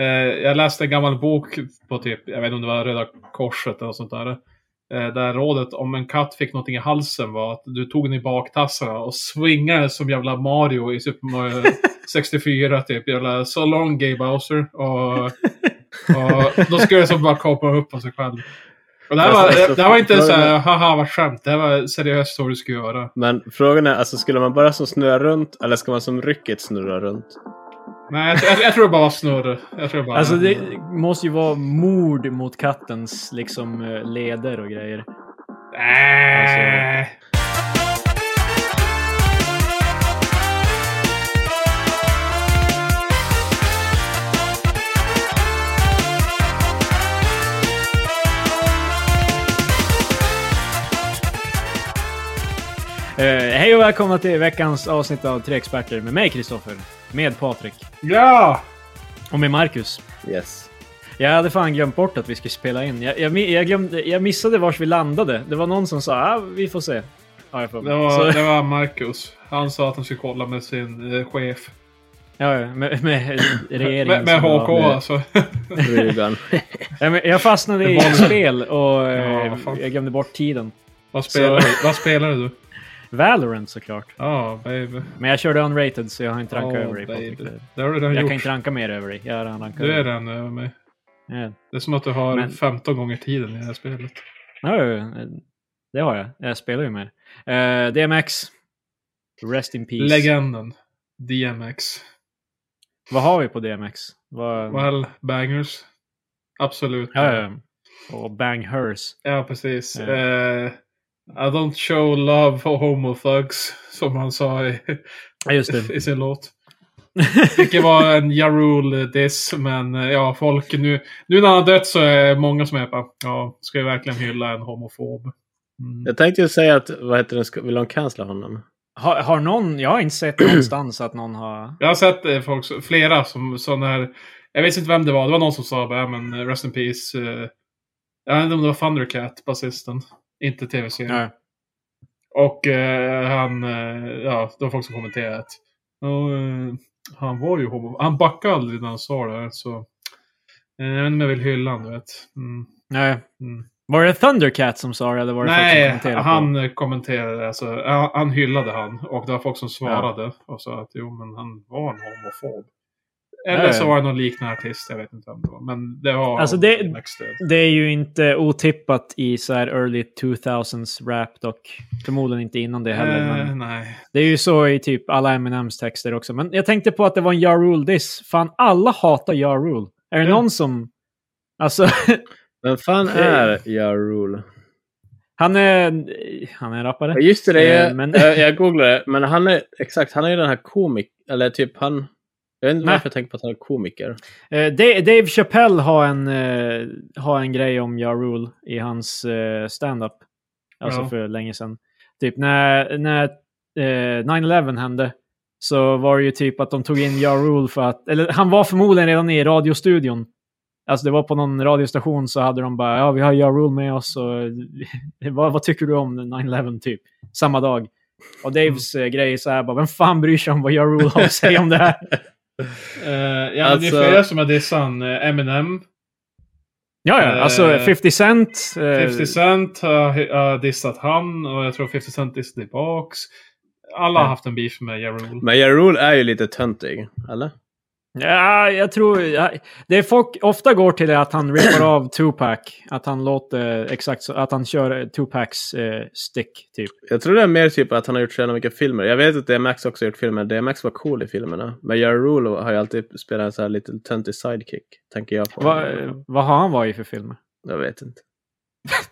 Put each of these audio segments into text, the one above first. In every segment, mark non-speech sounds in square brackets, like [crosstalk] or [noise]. Eh, jag läste en gammal bok på typ, jag vet inte om det var Röda Korset eller något sånt där. Eh, där rådet om en katt fick någonting i halsen var att du tog den i baktassarna och swingade som jävla Mario i Super Mario 64 typ. Jävla so long gay Bowser. Och, och då skulle det som bara kapa upp på sig själv. Och det, här var, det här var inte så här, haha vad skämt. Det här var seriöst så du skulle göra. Men frågan är, alltså skulle man bara som snurra runt eller ska man som rycket snurra runt? Nej, jag, jag, jag tror det bara var snurr. Jag tror bara... Alltså det måste ju vara mord mot kattens liksom leder och grejer. Äh. Alltså- Eh, hej och välkomna till veckans avsnitt av Tre Experter med mig Kristoffer, med Patrik Ja! och med Marcus. Yes. Jag hade fan glömt bort att vi skulle spela in. Jag, jag, mi- jag, glömde, jag missade vars vi landade. Det var någon som sa ah, vi får se. Ja, jag får. Det var, Så, [laughs] det var Marcus. Han sa att han skulle kolla med sin eh, chef. ja, ja, med, med regeringen. Med, med som var- HK alltså. [laughs] [laughs] Rugan. Ja, men jag fastnade i ett spel och eh, Ja, fan. jag glömde bort tiden. vad, spelar du? vad spelar du? Valorant såklart. Ja, baby. Men jag körde unrated så jag har inte rankat Åh, över dig Patrik. baby. Det har du redan Jag gjort. kan inte ranka mer över dig. Jag har redan rankat Du över är dig. den över mig. Ja. Det är som att du har Men- 15 gånger tiden i det här spelet. Ja, ja, ja. det har jag. Jag spelar ju med det. Eh, DMX. Rest in peace. Legenden. DMX. Vad har vi på DMX? Vad... Well, bangers. Absolut. Mm. Ja, ja, ja. Och Bang Hers. Ja, precis. Ja. Eh, I don't show love for homo thugs, som han sa i, Ja, just det. [laughs] [laughs] i sin låt. Vilket var en Jarul-diss, men eh, ja, folk nu... Nu när han har dött så är många som är bara, ja, ska vi verkligen hylla en homofob? Mm. Jag tänkte ju säga att, vad heter den, ska- vill de cancella honom? har, har någon... Jag har inte sett någonstans att någon har... Jag har sett eh, folk, som- flera som sådana här... Jag vet inte vem det var, det var någon som sa bara, ja, men eh, Rest in Peace. eh, jag vet inte om det var Thundercat, basisten. Inte tv-serien. Ja. Och eh, han, eh, ja, det var folk som kommenterade att "Ja, eh, han var ju homo. Han backade aldrig när han sa det här, så eh, jag vet inte om jag vill hylla han, du vet. Mm. Nej. Mm. Var det Thundercat som sa det eller var det Nej, folk som kommenterade på? han eh, kommenterade, alltså, han, han hyllade han. Och det var folk som svarade och sa att jo, men han var en homofob. Eller Nej. så var det någon liknande artist, jag vet inte vem det var. Men det var Alltså, det- stöd. Det är ju inte otippat i så här early 2000s rap dock. Förmodligen inte innan det heller. men... Eh, nej. Det är ju så i typ alla Eminems texter också. Men jag tänkte på att det var en Ja Rule diss. Fan, alla hatar Ja Rule. Är det Ja. någon som... Alltså, [laughs] Vem fan är Ja Rule? han är... Han är Ja, en rappare. Just det, det är, Eh, men- jag, jag googlade, men han är, exakt, han är ju den här komik, eller typ han, jag vet inte Nej. varför jag tänker på att han är komiker. Eh, Da- Dave Chappelle har en, eh, har en grej om Ja Rule i hans eh, stand-up. Alltså Ja. för länge sedan. Typ när, när eh, 9-11 hände så var det ju typ att de tog in Ja Rule för att... Eller han var förmodligen redan i radiostudion. Alltså det var på någon radiostation så hade de bara ja vi har Ja Rule med oss och [laughs] vad, vad tycker du om 9-11 typ? Samma dag. Och Daves eh, grej är så här bara vem fan bryr sig om vad Ja Rule har att säga om det här? Eh, ja, men Det Alltså- är flera som har dissat han. Eh, Eminem. Ja, ja. Eh, Alltså 50 Cent. eh, 50 Cent har har dissat han och jag tror 50 Cent dissat tillbaks. Alla har Ja. haft en beef med Jarul. Men Ja Rule är ju lite töntig, eller? Ja, jag tror... Ja, det är folk ofta går till det att [clears throat] han rippar av Tupac. Att han låter exakt så, Att han kör eh, Tupacs eh, stick, typ. Jag tror det är mer typ att han har gjort så jävla mycket filmer. Jag vet att DMX också har gjort filmer. DMX var cool i filmerna. Men Ja Rule har ju alltid spelat en så här lite töntig sidekick, tänker jag på. Va, vad har han varit i [laughs] för filmer? Jag vet inte.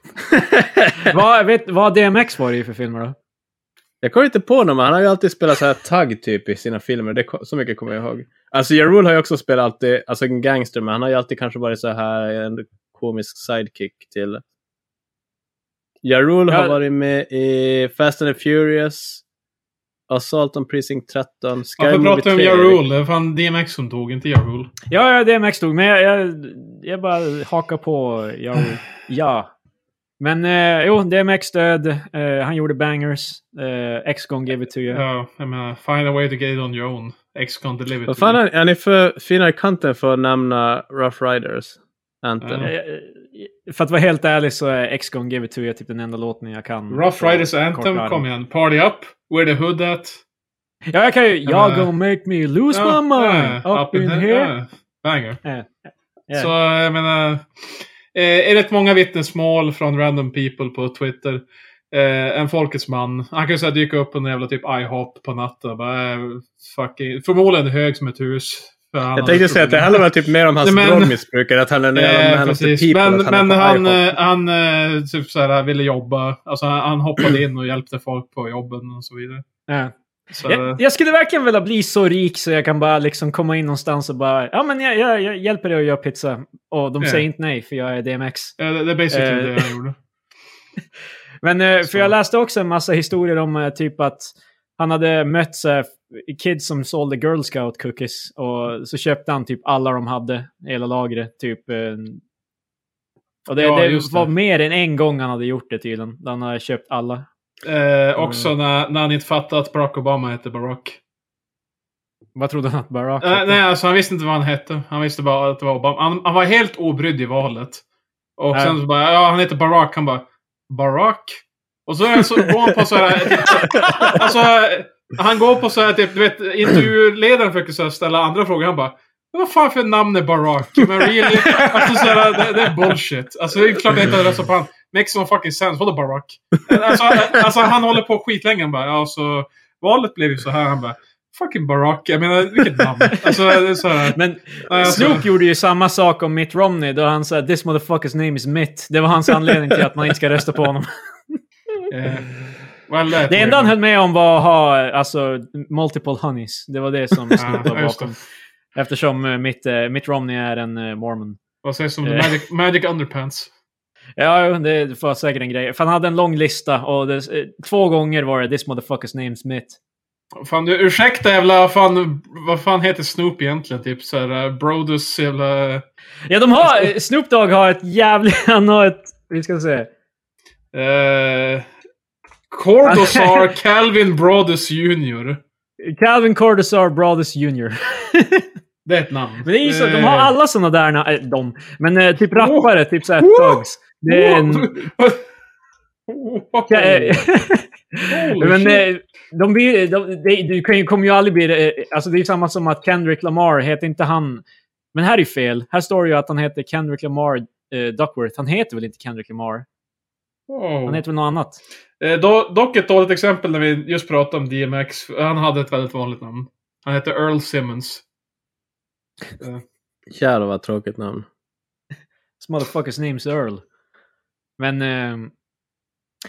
[laughs] vad, vet, vad har DMX varit i för filmer då? Jag kommer inte på någon, men han har ju alltid spelat så här tagg typ i sina filmer. Det, ko- så mycket kommer jag ihåg. Alltså Ja Rule har ju också spelat alltid, alltså en gangster, men han har ju alltid kanske varit så här en komisk sidekick till... Ja Rule har Ja. varit med i Fast and the Furious, Assault on Precinct 13, Sky Varför Movie pratar vi om 3. Jarul? Det var fan DMX som tog, inte Jarul. Ja, ja DMX dog, men jag, jag, jag bara hakar på. Jag, ja. Men eh, jo, DMX död. Eh, han gjorde bangers. Eh, X gone give it to you. Ja, jag menar, find a way to get it on your own. X-Con Delivery. Vad fan är, är ni för fina i kanten för att nämna Rough Riders? Anton. Ja. Eh, För att vara helt ärlig så är X-Gone Give It To You typ den enda låten jag kan. Rough på Riders Mm. kort Anthem, varv. kom igen. Party Up, Where the Hood At. Ja, jag kan ju... Y'all Eh, gonna make me lose Ja, my mind ja, up in here. ja, Banger. Eh, eh. Så jag menar, eh, är rätt många vittnesmål från random people på Twitter. Eh, en folkets man. Han kan ju så här dyka upp på en jävla typ IHOP på natten. och Bara, eh, fucking, förmodligen hög som ett hus. För han Jag hade tänkte säga att det handlar väl typ mer om hans Nej, men- drogmissbruk än att han är en jävla Eh, man of the precis. people. Men, typ att han men är på han, high eh, han eh, typ så här, ville jobba. Alltså, han, han hoppade in och hjälpte folk på jobben och så vidare. Eh. Så, Jag, jag skulle verkligen vilja bli så rik så jag kan bara liksom komma in någonstans och bara ja men jag, jag, jag hjälper dig att göra pizza. Och de Ja. säger inte nej för jag är DMX. eh, det, det är basically eh, det jag gjorde. Men eh, för Så. jag läste också en massa historier om eh, typ att han hade mött så här, kids som sålde Girl Scout cookies och så köpte han typ alla de hade, hela lagret. Typ, eh, och det, Ja, just det det. var mer än en gång han hade gjort det tydligen. Han hade köpt alla. Eh, också när, när han inte fattade att Barack Obama hette Barack. Vad trodde han att Barack Eh, hette? nej, alltså han visste inte vad han hette. Han visste bara att det var Obama. Han, han var helt obrydd i valet. Och Ja. sen så bara, ja han heter Barack. Han bara, Barack? Och så, är han så går han på så här... Typ, alltså, han går på så här typ, du vet, intervjuledaren försöker så här ställa andra frågor. Han bara, vad fan för namn är Barack? Men really? Alltså så här, det, det är bullshit. Alltså det är klart jag inte hade röstat på han. Makes no fucking sense. Vadå Barack? Alltså, alltså han håller på skitlänge. Han bara, ja så valet blev ju så här. Han bara, Fucking Barack, jag menar vilket namn? Alltså, det är så här, alltså, Men Ja, jag Snoop tror- gjorde ju samma sak om Mitt Romney då han sa “This motherfucker's name is Mitt”. Det var hans anledning till att man inte ska rösta på [laughs] honom. eh, well, är Det enda han höll med om var att ha alltså, multiple honeys. Det var det som Snoop Ja, var just det. bakom. Eftersom eh, Mitt, eh, Mitt Romney är en eh, mormon. Vad sägs om the Eh. magic, magic Underpants? Ja, jo, det var säkert en grej. För han hade en lång lista och det, eh, två gånger var det “This motherfucker's name is Mitt”. Fan, du, ursäkta jävla, fan, vad fan heter Snoop egentligen? Typ så här, eh, Brodus jävla... eh, Ja, de har... eh, Snoop Dogg har ett jävligt... [laughs] Han har ett... Vi ska se. Eh, [laughs] Cordosar Calvin Brodus Jr. Calvin Cortazar Brothers Jr. Det är ett namn. [laughs] Men det är ju så, de har Eh, [laughs] alla såna där, na- äh, de, men eh, typ rappare, typ såhär Oh! Thugs. Det är en, Wow. Ja, eh, Holy [laughs] men shit. eh, de blir, de, de, du kan ju, kommer ju aldrig bli, eh, alltså det är ju samma som att Kendrick Lamar, heter inte han, men här är ju fel. Här står det ju att han heter Kendrick Lamar eh, Duckworth. Han heter väl inte Kendrick Lamar? Wow. Han heter väl något annat? Eh, do, dock ett dåligt exempel när vi just pratade om DMX. Han hade ett väldigt vanligt namn. Han hette Earl Simmons. five. Jävlar vad tråkigt namn. This motherfucker's name's Earl. Men... ehm,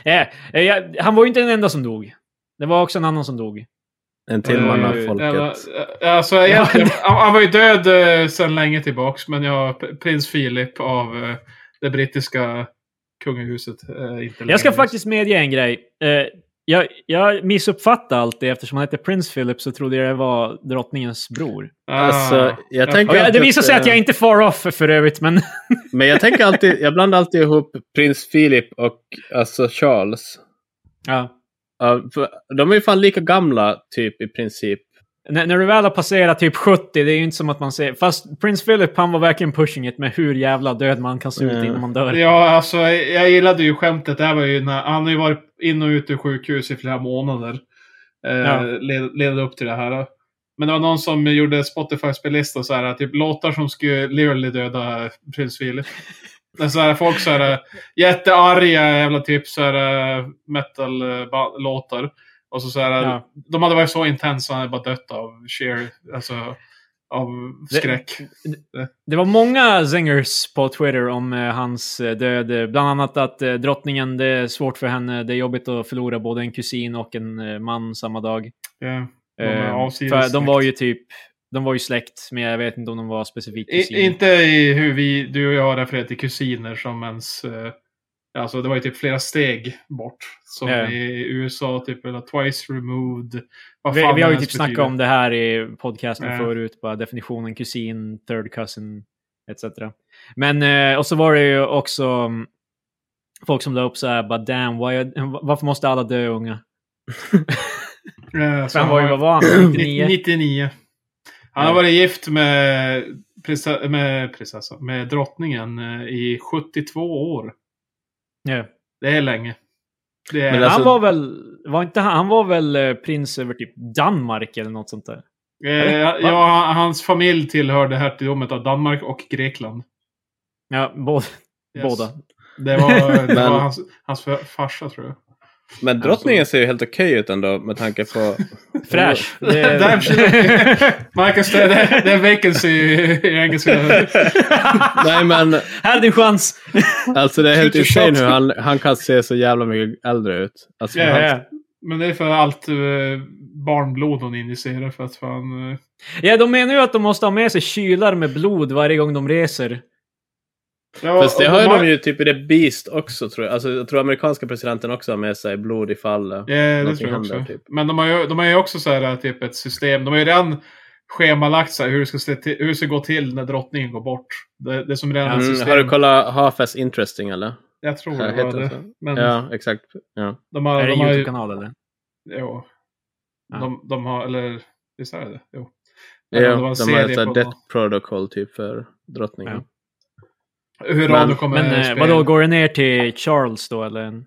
Eh, eh, jag- han var ju inte den enda som dog. Det var också en annan som dog. En till Eh, man av jävla- folket. eh, Alltså, egentligen, han, han var ju död eh, sedan länge tillbaks, men jag, p- prins Philip av eh, det brittiska kungahuset. Eh, inte längre. Jag ska faktiskt medge en grej. Eh, jag, jag missuppfattade allt det eftersom han hette Prince Philip så trodde jag det var drottningens bror. Ah, Alltså, jag tänker Och jag, det alltid visar sig att jag eh, inte far off för, för övrigt, men... Men jag tänker alltid, jag blandar alltid ihop prins Philip och alltså Charles. ja. Ja, för de är ju fan lika gamla typ i princip. när, när du väl har passerat typ 70, det är ju inte som att man ser... Fast Prince Philip, han var verkligen pushing it med hur jävla död man kan se ut Mm. innan man dör. Ja, alltså jag gillade ju skämtet. Det här var ju när, han har ju varit in och ut ur sjukhus i flera månader. Eh, Ja. led, ledde upp till det här. Men det var någon som gjorde Spotify-spellista så här, typ låtar som skulle literally döda prins Philip. När så här, folk så här, jättearga jävla typ så här, metal-låtar. Och så, så här, Ja. de hade varit så intensa, han hade bara dött av sheer, alltså av Det- skräck. Det var många zingers på Twitter om eh, hans eh, död. Eh, Bland annat att eh, drottningen, det är svårt för henne. Det är jobbigt att förlora både en kusin och en eh, man samma dag. Ja. De är Eh, avsides för de släkt. var ju typ... De var ju släkt, men jag vet inte om de var specifikt kusin. I, inte i hur vi, du och jag refererar till kusiner som ens... Eh, alltså det var ju typ flera steg bort. Som Ja. i USA, typ eller twice removed. Vad vi, fan vi har det ju ens typ snackat betyder. om det här i podcasten Ja. förut. Bara definitionen kusin, third cousin, etc. Men, eh, och så var det ju också mm, folk som la upp så här, bara damn, why, varför [laughs] måste alla dö unga? Ja, så För han var ju, har- [clears throat] vad var han? 99? 99. Han har varit gift med, prisa, med, prinsessan, med drottningen eh, i 72 år. Ja. Det är länge. Det är, Men Men alltså- han var väl, var inte han, han var väl eh, prins över typ Danmark eller något sånt där? eh, ja, hans familj tillhörde hertigdomet av Danmark och Grekland. Ja, både, Yes. båda. Det var, det Men- var hans, hans för- farsa tror jag. Men Alltså- drottningen ser ju helt okej ut ändå med tanke på... Fräsch. Det, [laughs] Damn shit. Marcus, det, det, det är vacancy i i engelska. Nej men [laughs] Här är din chans! alltså det är helt Future insane shot. hur han, han kan se så jävla mycket äldre ut. Alltså, Ja, han, ja. Men det är för allt eh, barnblod hon injicerar för att fan... eh, Ja, de menar ju att de måste ha med sig kylar med blod varje gång de reser. Ja, Fast det och har ju har- de ju typ i The Beast också tror jag. Alltså, jag tror amerikanska presidenten också har med sig blod i Mm, fallet. Ja, det någonting tror jag också. händer, typ. Men de har ju, de har ju också så här, typ ett system. De har ju redan schemalagt så här, hur, det ska se till, hur det ska gå till när drottningen går bort. Det, det är som redan ett Mm, system. har du kollat Half As Interesting eller? Jag tror Ja, alltså, det heter var det det. så? Men Ja, exakt. Ja. de har, är det de en har ju... YouTube-kanal eller? Jo. Ja. De, de har, eller visst är det Jo. Ja, Men de det var en har ett serie sånt på- här Death Protocol typ för drottningen. Ja. Hur Men- radio kommer Men eh, spela. vadå, går det ner till Charles då eller?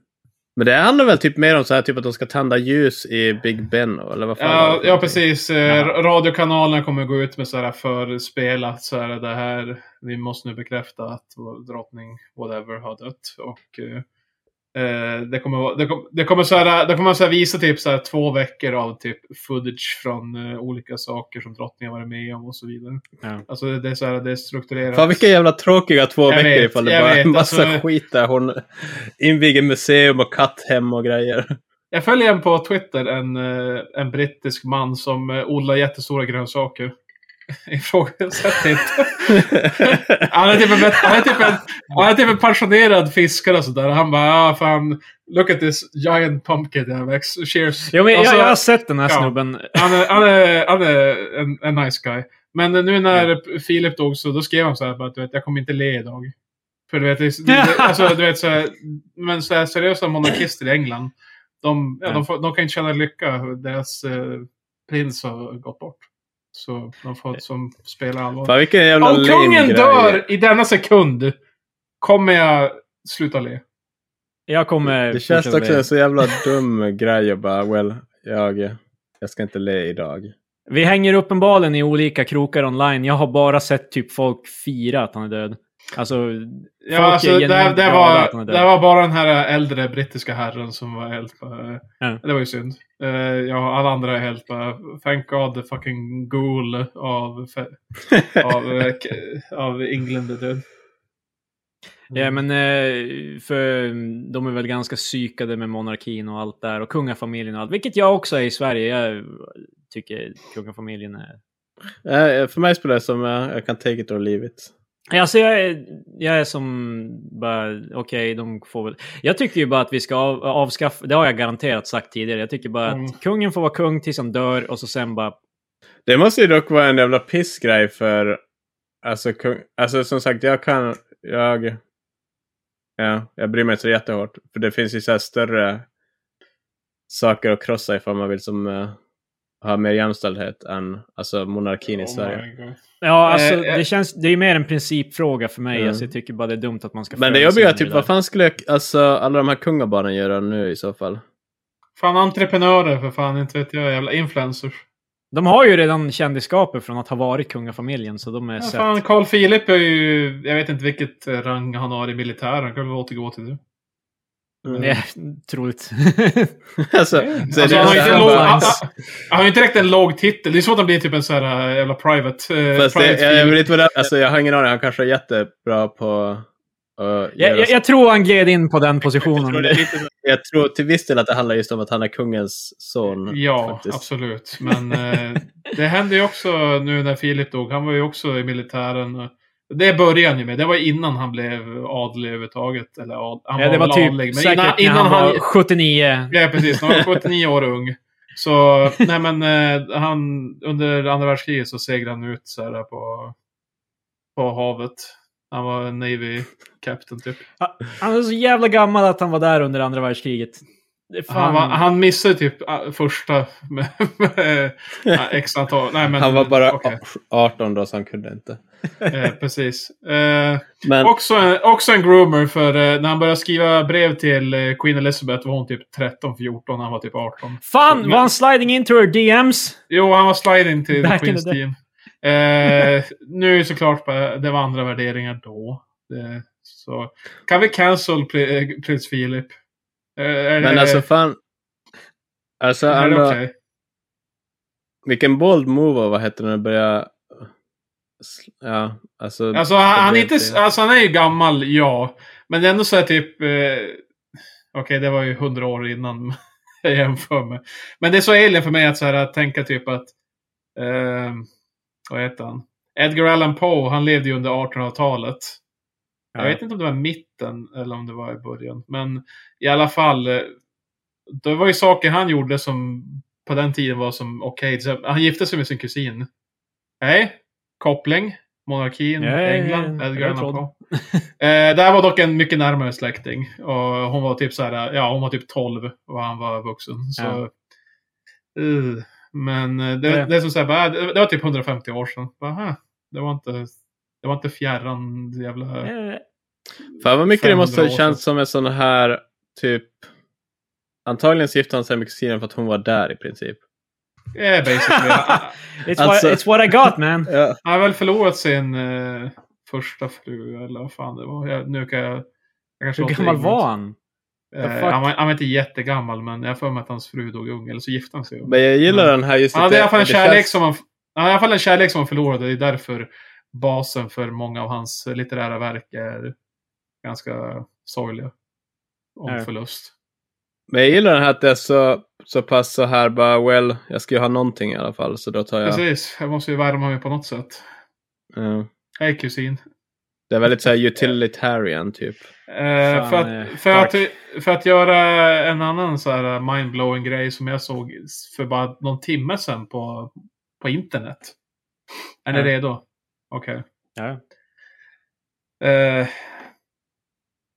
Men det handlar väl typ mer om så här typ att de ska tända ljus i Big Ben eller vad fan Ja, var det för ja, någonting? precis. Eh, Radiokanalerna kommer gå ut med så här förspel att så här, det här, vi måste nu bekräfta att vår drottning whatever har dött. Och, eh, eh, det kommer, vara- det kommer, det kommer, så här, det kommer så här visa typ så här två veckor av typ footage från eh, olika saker som drottningen har varit med om och så vidare. Ja. Alltså det är, så här, det är strukturerat. Fan vilka jävla tråkiga två Jag veckor vet, ifall det jag bara är vet, en massa alltså- skit där. Hon inviger museum och katthem [laughs] och grejer. Jag följer en på Twitter, en, eh, en brittisk man som eh, odlar jättestora grönsaker. [laughs] Ifrågasätt inte. Han är typ en, han är typ en, han är typ en pensionerad fiskare och sådär. Han bara, ah, fan, look at this giant pumpkin jag växt. Cheers. Jo, men jag, Alltså, jag har sett den här ja. snubben. han är, han är, han är en, en nice guy. Men nu när Filip dog så då skrev han så här, bara, du vet, jag kommer inte le idag. För du vet, [laughs] det, det, alltså, du vet så här, men så här, seriösa monarkister i England, de, ja, Ja. de, får, de kan inte känna lycka. Deras eh, prins har gått bort. Så de Eh, får som spela allvar. Fan vilken jävla Om kungen lame grej. dör i denna sekund kommer jag sluta le. Jag kommer... Det känns fortsätta också med- en så jävla dum grej att bara, well, jag, jag ska inte le [laughs] idag. Vi hänger uppenbarligen i olika krokar online. Jag har bara sett typ folk fira att han är död. Alltså, Ja, Folk är alltså, det, genuint det, glada att var, han är det död. var bara den här äldre brittiska herren som var helt bara, Ja. Det var ju synd. Eh, ja, alla andra är helt bara... Thank God the fucking ghoul av, [laughs] av, eh, k- av England är död. ja men eh, för de är väl ganska psykade med monarkin och allt där och kungafamiljen och allt. Vilket jag också är i Sverige. Jag tycker kungafamiljen är... Eh, För mig spelar det som, eh, jag kan take it or leave it. Alltså jag är, jag är som bara, okej, de får väl... Jag tycker ju bara att vi ska av, avskaffa, det har jag garanterat sagt tidigare, jag tycker bara Mm. att kungen får vara kung tills han dör och så sen bara Det måste ju dock vara en jävla pissgrej för... Alltså, kung, alltså som sagt, jag kan... Jag... Ja, jag bryr mig inte så jättehårt. För det finns ju så här större saker att krossa ifall man vill som... eh, ha mer jämställdhet än alltså, monarkin i Oh Sverige. my God. Ja, alltså Eh, eh. det känns... Det är ju mer en principfråga för mig. Mm. Alltså, jag tycker bara det är dumt att man ska... Men det föra jobbiga är sig in i typ, det vad där. fan skulle jag, alltså, alla de här kungabarnen göra nu i så fall? Fan entreprenörer för fan, inte vet jag. Jävla influencers. De har ju redan kändisskapet från att ha varit kungafamiljen, så de är Ja, sett. fan, Carl Philip är ju... Jag vet inte vilket eh, rang han har i militären. Han kan väl återgå till det. Ja, troligt. [laughs] alltså, så är Mm. Alltså, det han, har ju så inte här en låg, bara- han, han- han har ju inte direkt en låg titel. Det är så att han blir typ en sån här äh, jävla private... eh, Fast det, private jag, jag figure. vet inte vad det alltså, jag har ingen aning. Han kanske är jättebra på att jag, jag, jag tror han gled in på den jag, tror positionen. det är lite så- jag tror till viss del att det handlar just om att han är kungens son. Ja, faktiskt. absolut. Men [laughs] eh, det hände ju också nu när Filip dog. Han var ju också i militären. Det började han ju med. Det var innan han blev adlig överhuvudtaget. Eller ad, han Ja, det väl var typ adlig, men säkert innan, innan när han, han... var 79. Ja, precis. Han var 79 år ung. [laughs] Så, nej men, eh, han, under andra världskriget så seglade han ut så här på, på havet. Han var en Navy Captain typ. Han är så jävla gammal att han var där under andra världskriget. Det är fan... Han, var, han missade typ äh, första med, med äh, x [laughs] antal. Nej, men, Han var bara okej. 18 då, så han kunde inte. Eh, precis. Eh, Men också, en, också en groomer, för eh, när han började skriva brev till eh, Queen Elizabeth var hon typ 13-14, han var typ 18. Fan, var han sliding into her DMs? Jo, han var sliding till Back in Queens the day. team. Eh, nu är det såklart bara- det var andra värderingar då. Eh, så. Kan vi cancel pr- eh, prins Philip? Eh, är Men det- alltså fan. Alltså är det andra, okej? vilken bold move och vad heter det när det börjar... Ja, alltså. Alltså han, han, är blev inte, det. alltså han är ju gammal, ja. Men det är ändå så här typ... Eh, Okej, det var ju hundra år innan [laughs] jag jämför med. Men det är så alien för mig att, så här, att tänka typ att... Eh, vad heter han? Edgar Allan Poe, han levde ju under 1800-talet. ja. Jag vet inte om det var i mitten eller om det var i början. Men i alla fall. eh, Det var ju saker han gjorde som på den tiden var som okej. Till exempel, Han gifte sig med sin kusin. Nej, koppling. Monarkin, Ja, ja, ja, England, ja, Edgar Allan jag trodde. Poe. [laughs] Eh, det här var dock en mycket närmare släkting. Och hon var typ så här, ja hon var typ 12 och han var vuxen. Så, Eh, men eh, det, Ja. det är som så här, bara, det, det var typ 150 år sedan. Bara, "Aha, det var inte, det var inte fjärran jävla... Eh, Fan vad mycket det måste 500 ha år känts som en sån här typ. Antagligen så gifte han sig med kusinen för att hon var där i princip. Yeah, Eh, [laughs] basically. Han- It's, Alltså- what, it's what I [laughs] got man. Ja. Han har väl förlorat sin eh, första fru, eller vad fan det var. Jag, nu kan jag... jag kanske Hur låter gammal ignorant. var han? The Eh, fuck? han, var, han var inte jättegammal, men jag har för mig att hans fru dog ung, eller så gifte han sig. Men jag gillar Mm. den här just Han hade i det- alla fall en det kärlek känns- som han... Han hade i alla fall en kärlek som han förlorade. Det är därför basen för många av hans litterära verk är ganska sorgliga. Om Ja. förlust. Men jag gillar den här att det är så, så pass så här bara well, jag ska ju ha någonting i alla fall så då tar jag. Precis, jag måste ju värma mig på något sätt. Ja. Hej kusin. Det är väldigt så här utilitarian typ. Eh, Fan, för, eh, att, för, tack. att, för att göra en annan så här eh, mindblowing grej som jag såg för bara någon timme sedan på, på internet. Är ni Ja. redo? Okej. Ja. Eh,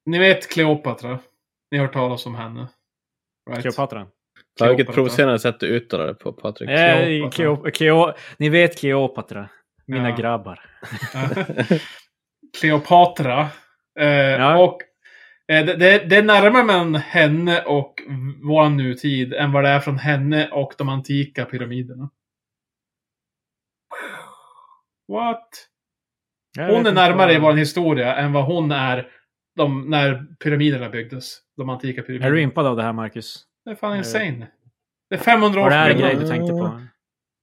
ni vet Kleopatra? Ni har hört talas om henne? Right? Kleopatra. Fan, vilket Kleopatra. provocerande sätt du uttalar det på Patrik. Eh, Kleopatra. Kleo- Kleo- Ni vet Kleopatra. Mina Ja. grabbar. Eh, Kleopatra. Eh, Ja. Och eh, det- det, det är närmare mellan henne och vår nutid än vad det är från henne och de antika pyramiderna. What? Jag vet Hon är inte närmare vad- i vår historia än vad hon är de, när pyramiderna byggdes. De antika Är du pyramiderna. impad av det här Marcus? Det är fan Är- insane. Det är 500 Var år det här en sedan. grej du tänkte Mm. [laughs] på?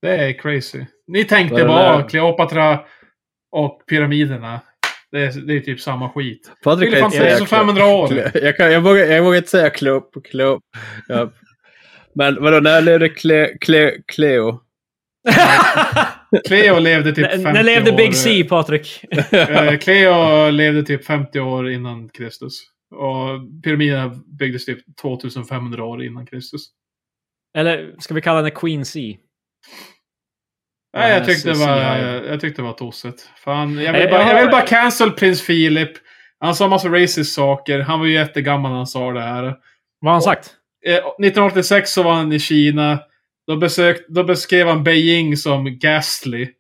Det är crazy. Ni Vad tänkte är det bara där? Kleopatra och pyramiderna. Det är, det är typ samma skit. Patrik Ville fan inte säga så Kleo- 500 år. Kleo- [laughs] Jag, kan, jag, vågar, jag vågar inte säga Kleop. Kleop. Ja. Men vadå, när levde Kle, Kle, Cleo? Cleo levde typ 50 N- [laughs] När levde år. Big C, Patrik? [laughs] Eh, Cleo levde typ 50 år innan Kristus. Och pyramiderna byggdes typ 2500 år innan Kristus. [laughs] Eller ska vi kalla henne Queen C? Nej, jag Ja, tyckte det så- var, så jag- jag tyckte det var tossigt. Fan, jag Nej, vill, bara, jag- jag vill bara cancel prins Philip. Han sa massa racist saker. Han var ju jättegammal när han sa det här. Vad har [laughs] han sagt? Eh, 1986 så var han i Kina. Då, besök, då beskrev han Beijing som ghastly.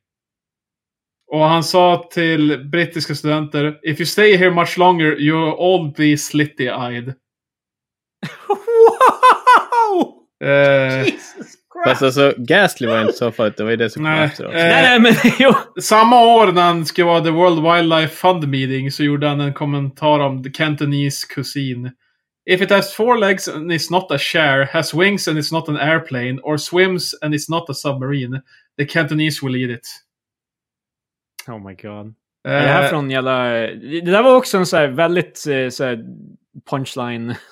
Och han sa till brittiska studenter If you stay here much longer you'll all be slitty-eyed. Wow! [laughs] Eh, Jesus Fast Christ! alltså, Gasly var inte så farligt. Det var ju det som kom Nej. efteråt. Eh, Nej, nej, men [laughs] jo. samma år när han skulle vara The World Wildlife Fund Meeting så gjorde han en kommentar om The Cantonese kusin. If it has four legs and it's not a share, has wings and it's not an airplane, or swims and it's not a submarine, the Cantonese will eat it. Oh my god. Eh, Är det här från jävla... Det där var också en så här väldigt eh, så här punchline. [laughs]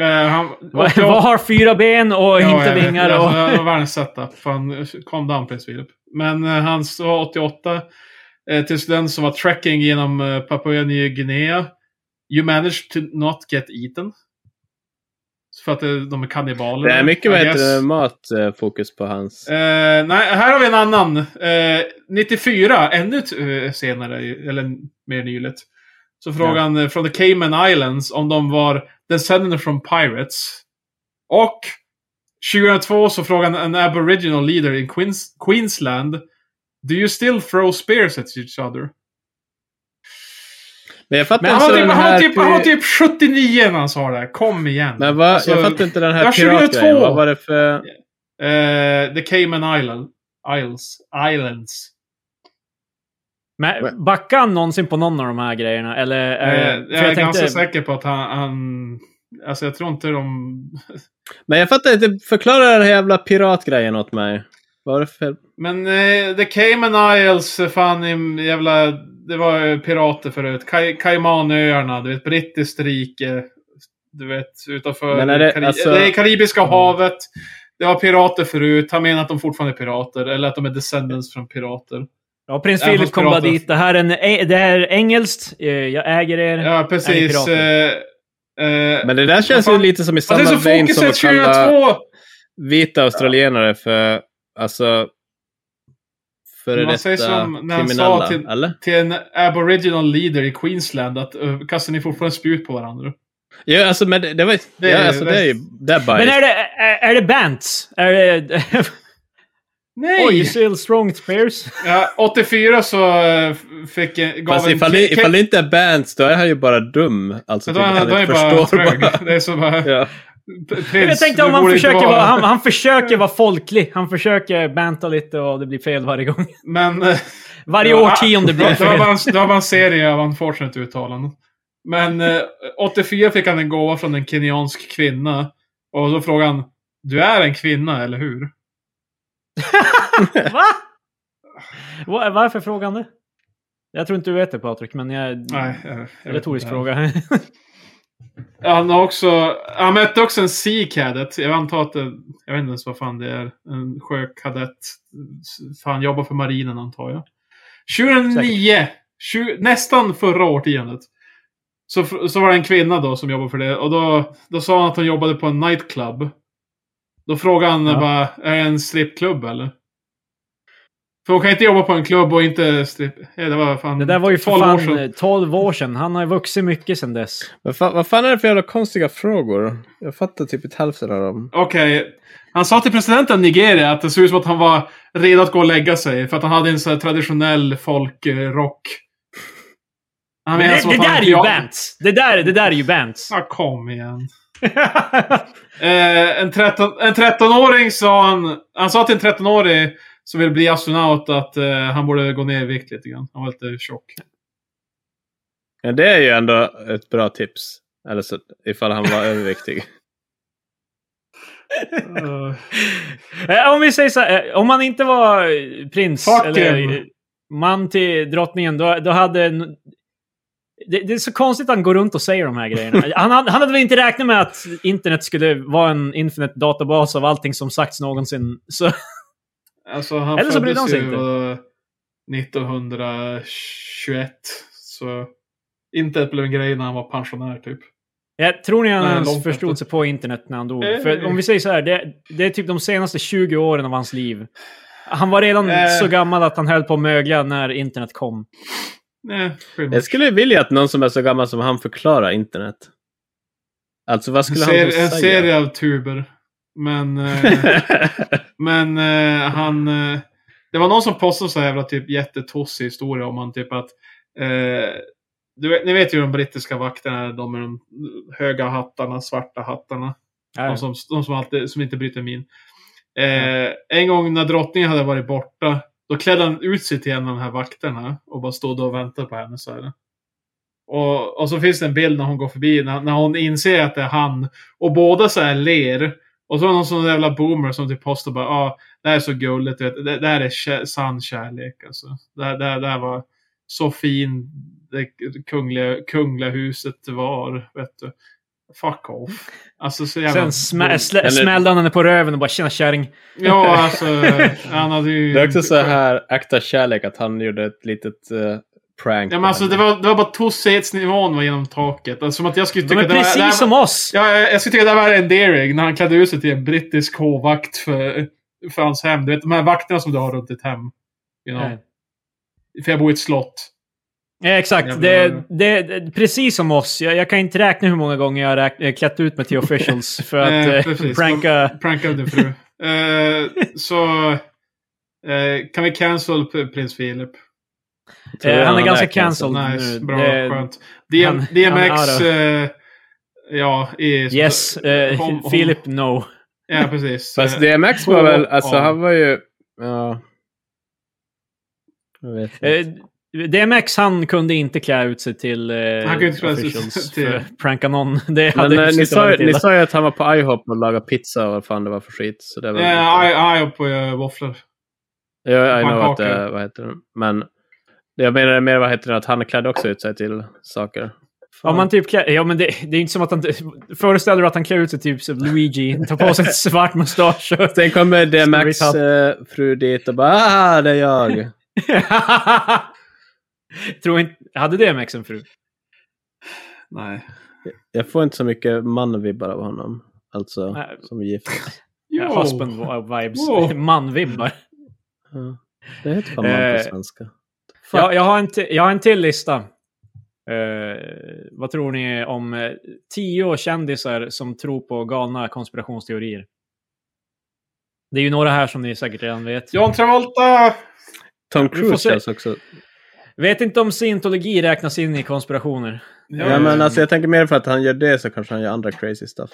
Eh, han, Vad vad har fyra ben och inte vingar? och... Och... Det Alltså, var världens setup. Fan, kom down prins Philip. Men eh, han var 88. Eh, till den som var trekking genom eh, Papua Nya Guinea. You managed to not get eaten. För att eh, de är kannibaler. Det är mycket I vad guess. heter det, matfokus på hans. Eh, nej, här har vi en annan. Eh, 94, ännu ett, eh, senare, eller mer nyligt. Så frågan eh, från The Cayman Islands om de var descendants from pirates. Och 2002 så frågade en aboriginal leader in Queens Queensland Do you still throw spears at each other? Men jag fattar Men han inte har typ, den han har här... typ, han har pyra- typ 79 när han sa det. här. Kom igen. Men vad, Alltså, jag fattar inte den det var här piratgrejen. 22. Vad var det för... eh, the Cayman Island, Isles. Islands. Men backade han någonsin på någon av de här grejerna? Eller, eh, Eh, för jag, är tänkte- ganska säker på att han, han... Alltså jag tror inte de... Men jag fattar inte. Förklara den här jävla piratgrejen åt mig. Vad var det för... Men eh, The Cayman Isles, eh, fan i jävla... Det var ju pirater förut. Kaj, Caymanöarna, du vet, brittiskt rike. Du vet, utanför... Men är det- Kari- alltså- det är Karibiska Mm. havet. Det var pirater förut. Han menar att de fortfarande är pirater. Eller att de är descendants från pirater. Ja, prins Ja, han Philip kom bara pratar. dit. Det här är, en, eh, det här är engelskt. Eh, Jag äger er. Ja, precis. pirater. eh, eh, Men det där känns ju fan. lite som i Att Alltså, det är samma så vein som att fokuset kalla 2002! vita australienare för... Alltså... Före Man säger detta som när han sa kriminella, till- eller? Till en aboriginal leader i Queensland att eh, kastar ni fortfarande spjut på varandra? Ja, alltså men det, det var Det det, är- ja, alltså, det är ju... Det är Men bajs. är det, är, är det Bants? Är det... [laughs] Nej! Oj, still strong spears. Ja, 84 så eh, fick, gav Fast en... ifall, det- ifall det inte är bands, då är han ju bara dum. Alltså, då är typ, han [laughs] han då är inte bara förstår trög. bara. Det är som bara... Ja. Prins, Jag tänkte du om han borde inte försöker, vara- vara, han, han försöker vara folklig. Han försöker banta lite och det blir fel varje gång. Men... eh, Varje ja, [laughs] årtionde blir det Då har fel. man, då har man en serie av unfortunate uttalanden. Men eh, 84 fick han en gåva från en kenyansk kvinna. Och då frågade han Du är en kvinna, eller hur? Va? Va? Varför frågar han det? Jag tror inte du vet det Patrik, men jag... Nej. jag- jag vet inte. Retorisk fråga. [laughs] Han har också... Han mötte också en Sea Cadet. Jag antar att det, Jag vet inte ens vad fan det är. En sjökadett. Han jobbar för marinen antar jag. 2009! tju- nästan förra årtiondet. Så, f- så var det en kvinna då som jobbade för det. Och då, då sa han att hon jobbade på en nightclub. Då frågade han Ja. bara, är det en strippklubb eller? För hon kan inte jobba på en klubb och inte stripp... Ja, det var fan Det där var ju för 12 år fan sedan. eh, 12 år sedan. Han har ju vuxit mycket sedan dess. [laughs] Vad fan, vad fan är det för jävla konstiga frågor? Jag fattar typ inte hälften av dem. Okej. Han sa till presidenten i Nigeria att det såg ut som att han var redo att gå och lägga sig. För att han hade en sån här traditionell folkrock. Han Men menar det, som det att han- där är ju ja, Bants! Det där, det där är ju [laughs] Bants! Ja, kom igen. Eh, en 13 en 13-åring sa han... Han sa till en 13-årig som vill bli astronaut att eh, han borde gå ner i vikt lite grann. Han var lite [laughs] tjock. Ja, det är ju ändå ett bra tips. Eller så, ifall han var [laughs] överviktig. Eh, Eh, om vi säger så här, eh, om man inte var eh, prins Fuck him. eller eh, man till drottningen, då, då hade... n- Det, det är så konstigt att han går runt och säger de [laughs] här grejerna. Han, hade- han hade väl inte räknat med att internet skulle vara en infinite databas av allting som sagts någonsin. Så, [laughs] alltså, han Eller så brydde han sig föddes ju, inte. eh, 1921. Så... Inte blev en grej när han var pensionär typ. jag tror ni han Nej, ens långt förstod efter. sig på internet när han dog. Eh. För om vi säger så här, det, det är typ de senaste 20 åren av hans liv. Han var redan Eh. så gammal att han höll på att mögla när internet kom. Nej, skillnad. Jag skulle vilja att någon som är så gammal som han förklarar internet. Alltså vad En, skulle han ser, säga? en serie av tuber. Men, [laughs] eh, men eh, han... Eh, det var någon som postade så här jävla typ jättetossig historia om han typ att... Eh, du vet, ni vet ju de brittiska vakterna, de med de höga hattarna, svarta hattarna. De som, de som, alltid, som inte bryter min. Eh, en gång när drottningen hade varit borta, då klädde han ut sig till en av de här vakterna och bara stod och väntade på henne. Så här. Och, och så finns det en bild när hon går förbi, när, när hon inser att det är han. Och båda så här ler. Och så är det någon sån där jävla boomer som typ postar bara ah, det här är så gulligt, du vet. Det, det här är kä- sann kärlek alltså. Det, här- det, här- det här var så fin det kungliga, kungliga huset var, vet du. Fuck off. Alltså så jävla... Sen smä dumt. slä Eller- smällde han henne på röven och bara “tjena kärring”. Ja, alltså. Han hade ju... [laughs] det är också så här, akta kärlek, att han gjorde ett litet eh, prank. Ja, men på alltså, henne. det, var, det var bara tossighetsnivån var genom taket. Alltså, som att jag skulle De tycka är att det var... precis det här, som oss! ja, jag skulle tycka att det här var endearing när han klädde ut sig till en brittisk hovvakt för, för hans hem. Du vet, de här vakterna som du har runt ditt hem. You know. Nej. För jag bor i ett slott. Ja, exakt. Jävla- Det, det, det, precis som oss. Jag, jag kan inte räkna hur många gånger jag har räk- eh, klätt ut mig [laughs] till officials för att Eh, eh, precis. pranka. Prankade din [laughs] fru. Eh, så eh, kan vi cancel p- prins Philip? Tror Eh, jag han är han ganska är cancelled. cancelled Nice, nu. bra, Det- skönt. D- han- DMX, han eh, ja, är... Yes, eh, Hon- hon- Philip no. Ja, precis. [laughs] Fast Eh, DMX var väl, alltså Ja. han var ju... Ja. Jag vet inte. Eh, DMX han kunde inte klä ut sig till eh, Han kunde inte klä ut sig officials till- för att pranka någon. [laughs] Det hade Men eh, ni, slutat sa, väldigt ju- ni illa. sa ju att han var på IHOP och lagade pizza och vad fan det var för skit. Så det var Eh, Ja, lite- aj, aj på eh, våfflor. Ja, I know att pannkakor. det, vad heter det? Men det jag menar mer vad heter det, att han klädde också ut sig till saker. Om man typ klä, ja, men det, det är inte som att han... Föreställer du att han klär ut sig typ som Luigi, tar på sig ett svart mustasch och... Sen kommer DMX Storytime. eh, fru dit och bara ah, det är jag. [laughs] Tror inte... Hade DMX en fru? Nej. Jag får inte så mycket man-vibbar av honom. Alltså, Nej. som gift. Jo. Husband vibes. Wow. Man-vibbar. Ja. Det heter fan man Eh, på svenska. Fuck. Jag, jag, har en ti- jag har en till lista. Eh, vad tror ni om eh, tio kändisar som tror på galna konspirationsteorier? Det är ju några här som ni säkert redan vet. John Travolta! Tom vi får Cruise se. känns också. Vet inte om scientologi räknas in i konspirationer. Ja, men eh, alltså, jag tänker mer för att han gör det så kanske han gör andra crazy stuff.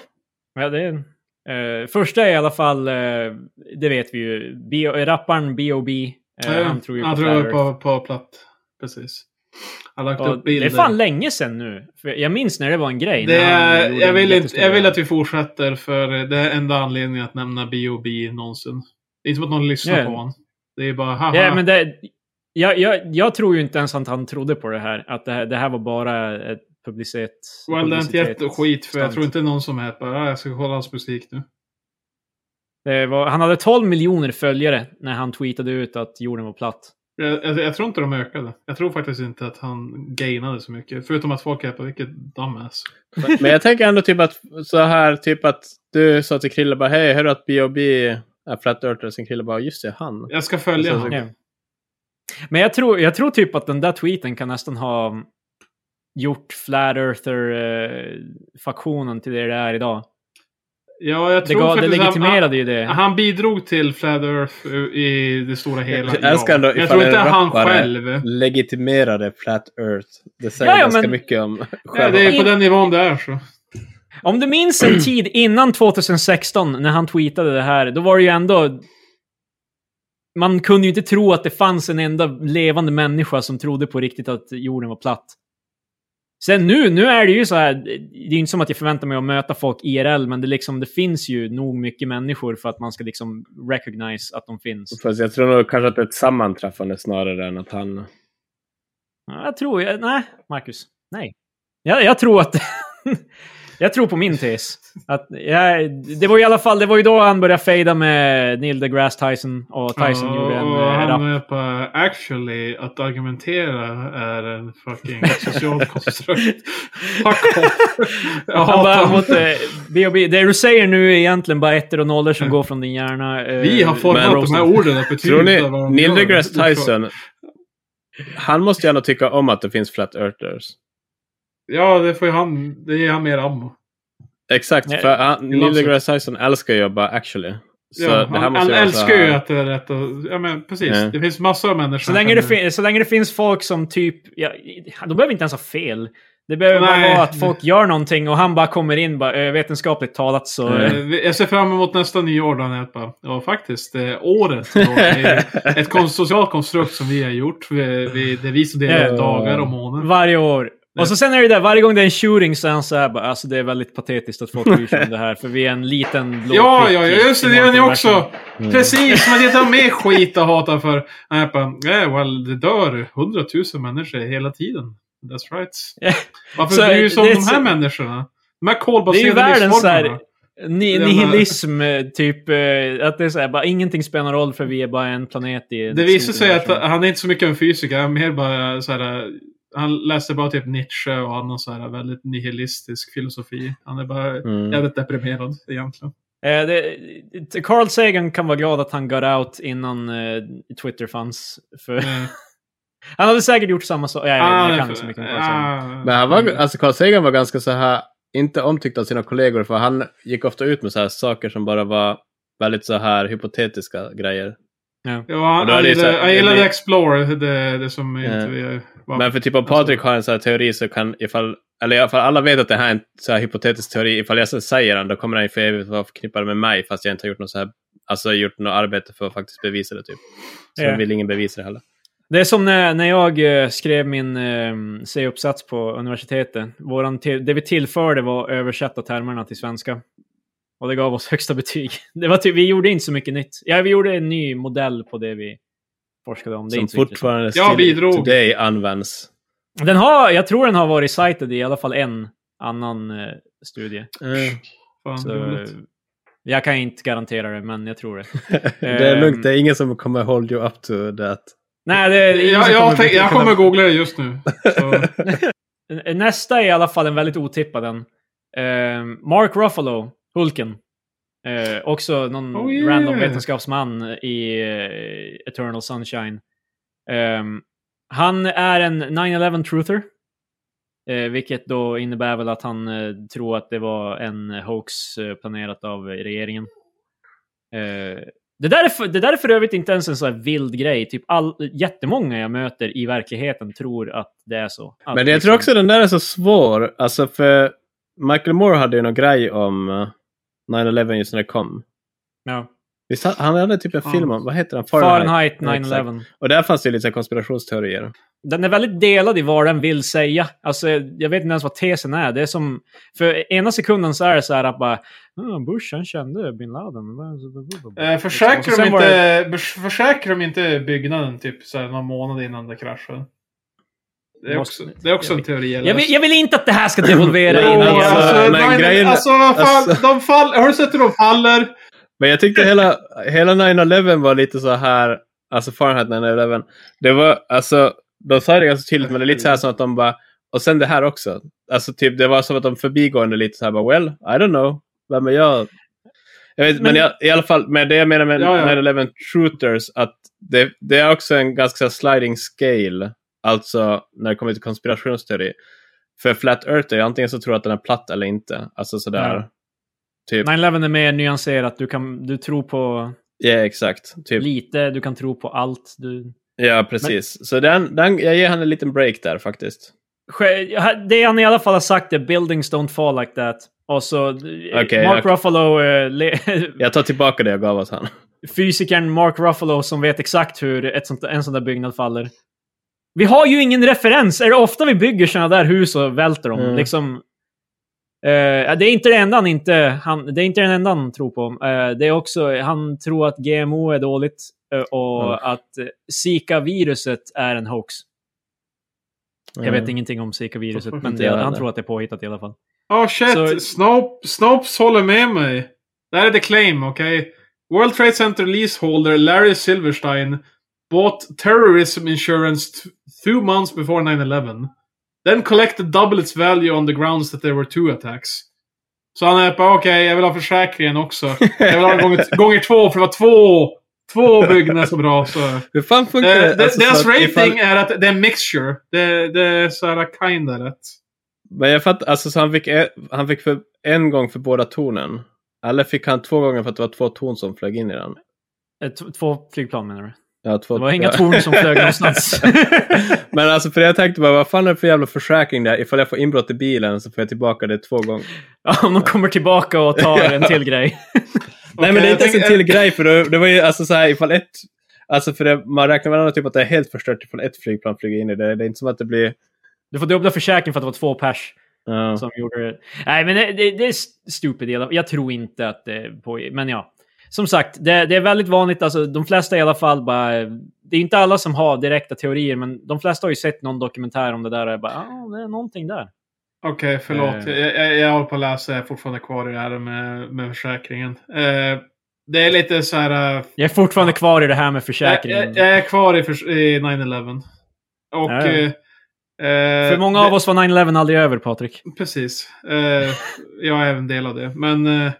Ja, det är en. Eh, första är i alla fall, eh, det vet vi ju, Bio, eh, rapparen B.O.B. eh, Ja, han tror ju han på tror Flat ju Earth. på, på platt. Precis. Han har lagt Och upp bilder. Det är fan länge sedan nu. För jag minns när det var en grej. Det när han är, gjorde jag, en vill inte, jättestor jag vill grej. att vi fortsätter för det är enda anledningen att nämna B.O.B. någonsin. Det är inte som att någon lyssnar Ja. på honom. Det är bara haha. Ja, men det, jag, jag, jag tror ju inte ens att han trodde på det här. Att det här, det här var bara ett publicitet... well, det är inte publicitet- jätteskit för jag stunt. tror inte någon som är bara "Ah, jag ska kolla hans musik nu. Det var, han hade 12 miljoner följare när han tweetade ut att jorden var platt. Jag, jag, jag tror inte de ökade. Jag tror faktiskt inte att han gainade så mycket. Förutom att folk är på vilket dumbass. Men jag tänker ändå typ att så här, typ att du sa till Krille bara hej, hör du att B.O.B. är Flat Earthers? Sen Krille bara just det, han. Jag ska följa Så- honom. Ja. Men jag tror, jag tror typ att den där tweeten kan nästan ha gjort Flat Earther-faktionen till det det är idag. Ja, jag Det, tror gav, det faktiskt han- legitimerade ju det. Han, han bidrog till Flat Earth i det stora hela. Jag älskar ändå jag ifall tror en inte han rappare- själv. Legitimerade Flat Earth. Det säger Ja, ja, ganska men- mycket om Ja, själva. det är på den nivån det är så. Om du minns en tid innan 2016 när han tweetade det här, då var det ju ändå... Man kunde ju inte tro att det fanns en enda levande människa som trodde på riktigt att jorden var platt. Sen nu, nu är det ju så här, det är ju inte som att jag förväntar mig att möta folk IRL, men det, liksom, det finns ju nog mycket människor för att man ska liksom recognize att de finns. Fast jag tror nog kanske att det är ett sammanträffande snarare än att han... Ja, Jag tror, jag, nej, Marcus. Nej. Jag, jag tror att... [laughs] jag tror på min tes. Att jag, det var i alla fall, det var ju då han började fejda med Neil deGrasse Tyson och Tyson Ja, gjorde en och eh, han är rap. på actually att argumentera är en fucking [laughs] social konstrukt. Fuck off. Jag Han hatar bara honom. mot eh, B.O.B. Det du säger nu är egentligen bara ettor och nollor som går från din hjärna. eh, Vi har Men- format de här orden att betyda Tror ni vad de Neil gör. deGrasse Tyson, han måste ju ändå tycka om att det finns Flat Earthers. Ja, det får ju han. Det ger han mer ammo. Exakt, Nej, för han, Neil Lawson. deGrasse Tyson älskar ju att bara actually. Så Ja, det här han måste han vara så älskar ju här- att det är rätt och, Ja, men precis. Ja. Det finns massor av människor. Så som länge, kan- det fin- så länge det finns folk som typ... Ja, de behöver inte ens ha fel. Det behöver Nej. bara vara att folk gör någonting och han bara kommer in bara eh, vetenskapligt talat så... Mm. eh, Eh, Jag ser fram emot nästa nyår då när jag bara, ja faktiskt, eh, året [laughs] då är ett kon- socialt konstrukt som vi har gjort. Vi, vi, det är vi som delar Ja. ut dagar och månader. Varje år. Ja. Och så sen är det där, varje gång det är en shooting så är han så här bara, alltså det är väldigt patetiskt att folk bryr sig om det här, för vi är en liten blå liksom, Ja, prick ja, ja, i- just det, i det gör ni marken. också! Mm. Precis, men det tar mer skit att hata för. Nej, jag bara, yeah, well, det dör hundratusen människor hela tiden. That's [laughs] right. Ja. Varför Så, bryr du sig om det är de här så- människorna? De här Det är ju kolbaserade världens så här, livsformerna. ni, Ja, men- nihilism, eh, typ, eh, att det är så här, bara ingenting spelar någon roll för vi är bara en planet i... ett Det visar stort sig att universum. han är inte så mycket en fysiker. Han är mer bara så här, Han läste bara typ Nietzsche och annan så här väldigt nihilistisk filosofi. Han är bara Mm. jävligt deprimerad [laughs] egentligen. Eh, det, Carl Sagan kan vara glad att han got out innan eh, Twitter fanns. För [laughs] Eh, Han hade säkert gjort samma sak. Ja, jag, Ah, jag, det kan är inte så för- mycket om Carl Sagan. ah, Men han var, alltså Carl Sagan var ganska så här, inte omtyckt av sina kollegor för han gick ofta ut med så här saker som bara var väldigt så här hypotetiska grejer. Ja, Och då är han det så gillade, här- han gillade det- Explorer, det, det som Ja. inte vi... Alltså, Var. Men för typ om Patrik har en så här teori så kan ifall, eller i alla fall alla vet att det här är en så här hypotetisk teori, ifall jag sen säger den då kommer den ju för evigt vara förknippad med mig fast jag inte har gjort något så här, alltså gjort något arbete för att faktiskt bevisa det typ. Så Ja. yeah. vill ingen bevisa det heller. Det är som när, när jag eh, skrev min eh, C-uppsats på universitetet. Våran till, det vi tillförde var att översätta termerna till svenska. Och det gav oss [laughs] högsta betyg. Det var typ, vi gjorde inte så mycket nytt. Ja, vi gjorde en ny modell på det vi forskade om. Det är Som inte så intressant. fortfarande Ja, still bidrog. today [laughs] används. Den har, jag tror den har varit cited i alla fall en annan eh, studie. Eh, Fan, Så, roligt. jag kan inte garantera det, men jag tror det. det är Ehm. lugnt, det är ingen som kommer hold you up to that. Nej, [laughs] det är ingen jag, som jag, tänk, jag kunna- kommer googla det just nu. [laughs] Så. Eh, Nästa är i alla fall en väldigt otippad en. Ehm, Mark Ruffalo, Hulken. Eh, också någon Oh, yeah. random vetenskapsman i eh, Eternal Sunshine. Ehm, han är en 9-11 truther. Eh, vilket då innebär väl att han eh, tror att det var en hoax eh, planerat av eh, regeringen. Eh, det, där är för, det där är för övrigt inte ens en sån här vild grej. Typ all, jättemånga jag möter i verkligheten tror att det är så. Att Men jag liksom- tror också den där är så svår. Alltså för Michael Moore hade ju någon grej om eh, 9-11 just när det kom. Ja. Visst, han- han hade typ en Fan. film om, vad heter den? Fahrenheit Ja, 9-11. Och där fanns det ju lite så här konspirationsteorier. Den är väldigt delad i vad den vill säga. Alltså, jag vet inte ens vad tesen är. Det är som, för ena sekunden så är det så här att bara, "Mm, Bush han kände bin Laden. Eh, Och försäkrar, Liksom. sen de var det- inte, bers- försäkrar de inte byggnaden typ så här, någon månad innan det kraschade? Det är också, det är också en teori. eller? Jag vill, jag vill inte att det här ska devolvera Jo, in i Åh, alltså, alltså, men nej, nej, grejen- alltså, vad fan, alltså- de fall, har du sett hur de faller? Men jag tyckte hela, hela 9-11 var lite så här, alltså Fahrenheit 9-11. Det var, alltså, de sa det ganska tydligt, men det är lite så här som att de bara, och sen det här också. Alltså typ, det var som att de förbigående lite så här bara, well, I don't know. Vem är jag? Jag vet, men, Men- jag, i alla fall, med det jag menar med Ja, ja. 9-11 truthers, att det, det är också en ganska så här sliding scale, alltså när det kommer till konspirationsteori. För flat earth är antingen så tror jag att den är platt eller inte. Alltså sådär. Ja. Typ. 9-11 är mer nyanserat. Du, kan, du tror på Ja, exakt. Typ. lite, du kan tro på allt. Du... Ja, precis. Så den, den, jag ger han en liten break där faktiskt. Sj- Det han i alla fall har sagt är “Buildings don't fall like that”. Och så eh, Okej, Mark okej. Ruffalo eh, le- [laughs] Jag tar tillbaka det jag gav åt han. fysikern Mark Ruffalo som vet exakt hur ett sånt, en sån där byggnad faller. Vi har ju ingen referens. Är det ofta vi bygger såna där hus och välter dem? Mm. Liksom, eh, ja, det är inte det enda han inte, han, det är inte den enda han tror på. Eh, det är också, han tror att GMO är dåligt eh, och Mm. att eh, Zika-viruset är en hoax. Jag vet Mm. ingenting om Zika-viruset, men Inte det, jag han heller. tror att det är påhittat i alla fall. Åh Oh, shit, Så- Snopes, Snopes håller med mig. Det här är the claim, okej? World Trade Center leaseholder Larry Silverstein bought terrorism insurance t- two months before 9-11. Then collected double its value on the grounds that there were two attacks. Så han är bara, okej, jag vill ha försäkringen också. Jag vill ha den [laughs] gånger, gånger två, för det var två, två byggnader som rasade. Hur fan funkar Eh, det? de- Alltså, Deras så att ifall- rating är att det är en mixture. Det, det är såhär kinda rätt. Men jag fattar, alltså så han fick, e- han fick för en gång för båda tornen. Eller fick han två gånger för att det var två torn som flög in i den? Eh, t- Två flygplan menar du? Ja, två, Det var inga ja. torn som flög någonstans. [laughs] Men alltså för jag tänkte bara, vad fan är det för jävla försäkring där? Ifall jag får inbrott i bilen så får jag tillbaka det två gånger. Ja, Om de kommer tillbaka och tar en till grej. Nej men det är inte ens en Okej, till grej för det, det var ju alltså så här ifall ett Alltså för det, man räknar väl ändå typ att det är helt förstört ifall ett flygplan flyger in i det. Det är inte som att det blir... Du får dubbla försäkringen för att det var två pers ja. som gjorde det. Nej, men det, det, det är st- stupid. i alla- Jag tror inte att det på, Men ja. Som sagt, det, det är väldigt vanligt. Alltså, de flesta i alla fall bara... Det är inte alla som har direkta teorier, men de flesta har ju sett någon dokumentär om det där och är bara ah, det är någonting där. Okej, förlåt. Eh. Jag, jag, jag håller på att läsa. Jag är fortfarande kvar i det här med, med försäkringen. Eh, det är lite så här... eh, Jag är fortfarande kvar i det här med jag, försäkringen. jag, jag är kvar i, förs- i 9-11. Och... Ja, ja. eh, eh, För många av oss var 9-11 aldrig [laughs] över, Patrik. Precis. Eh, jag är även del av det. Men eh,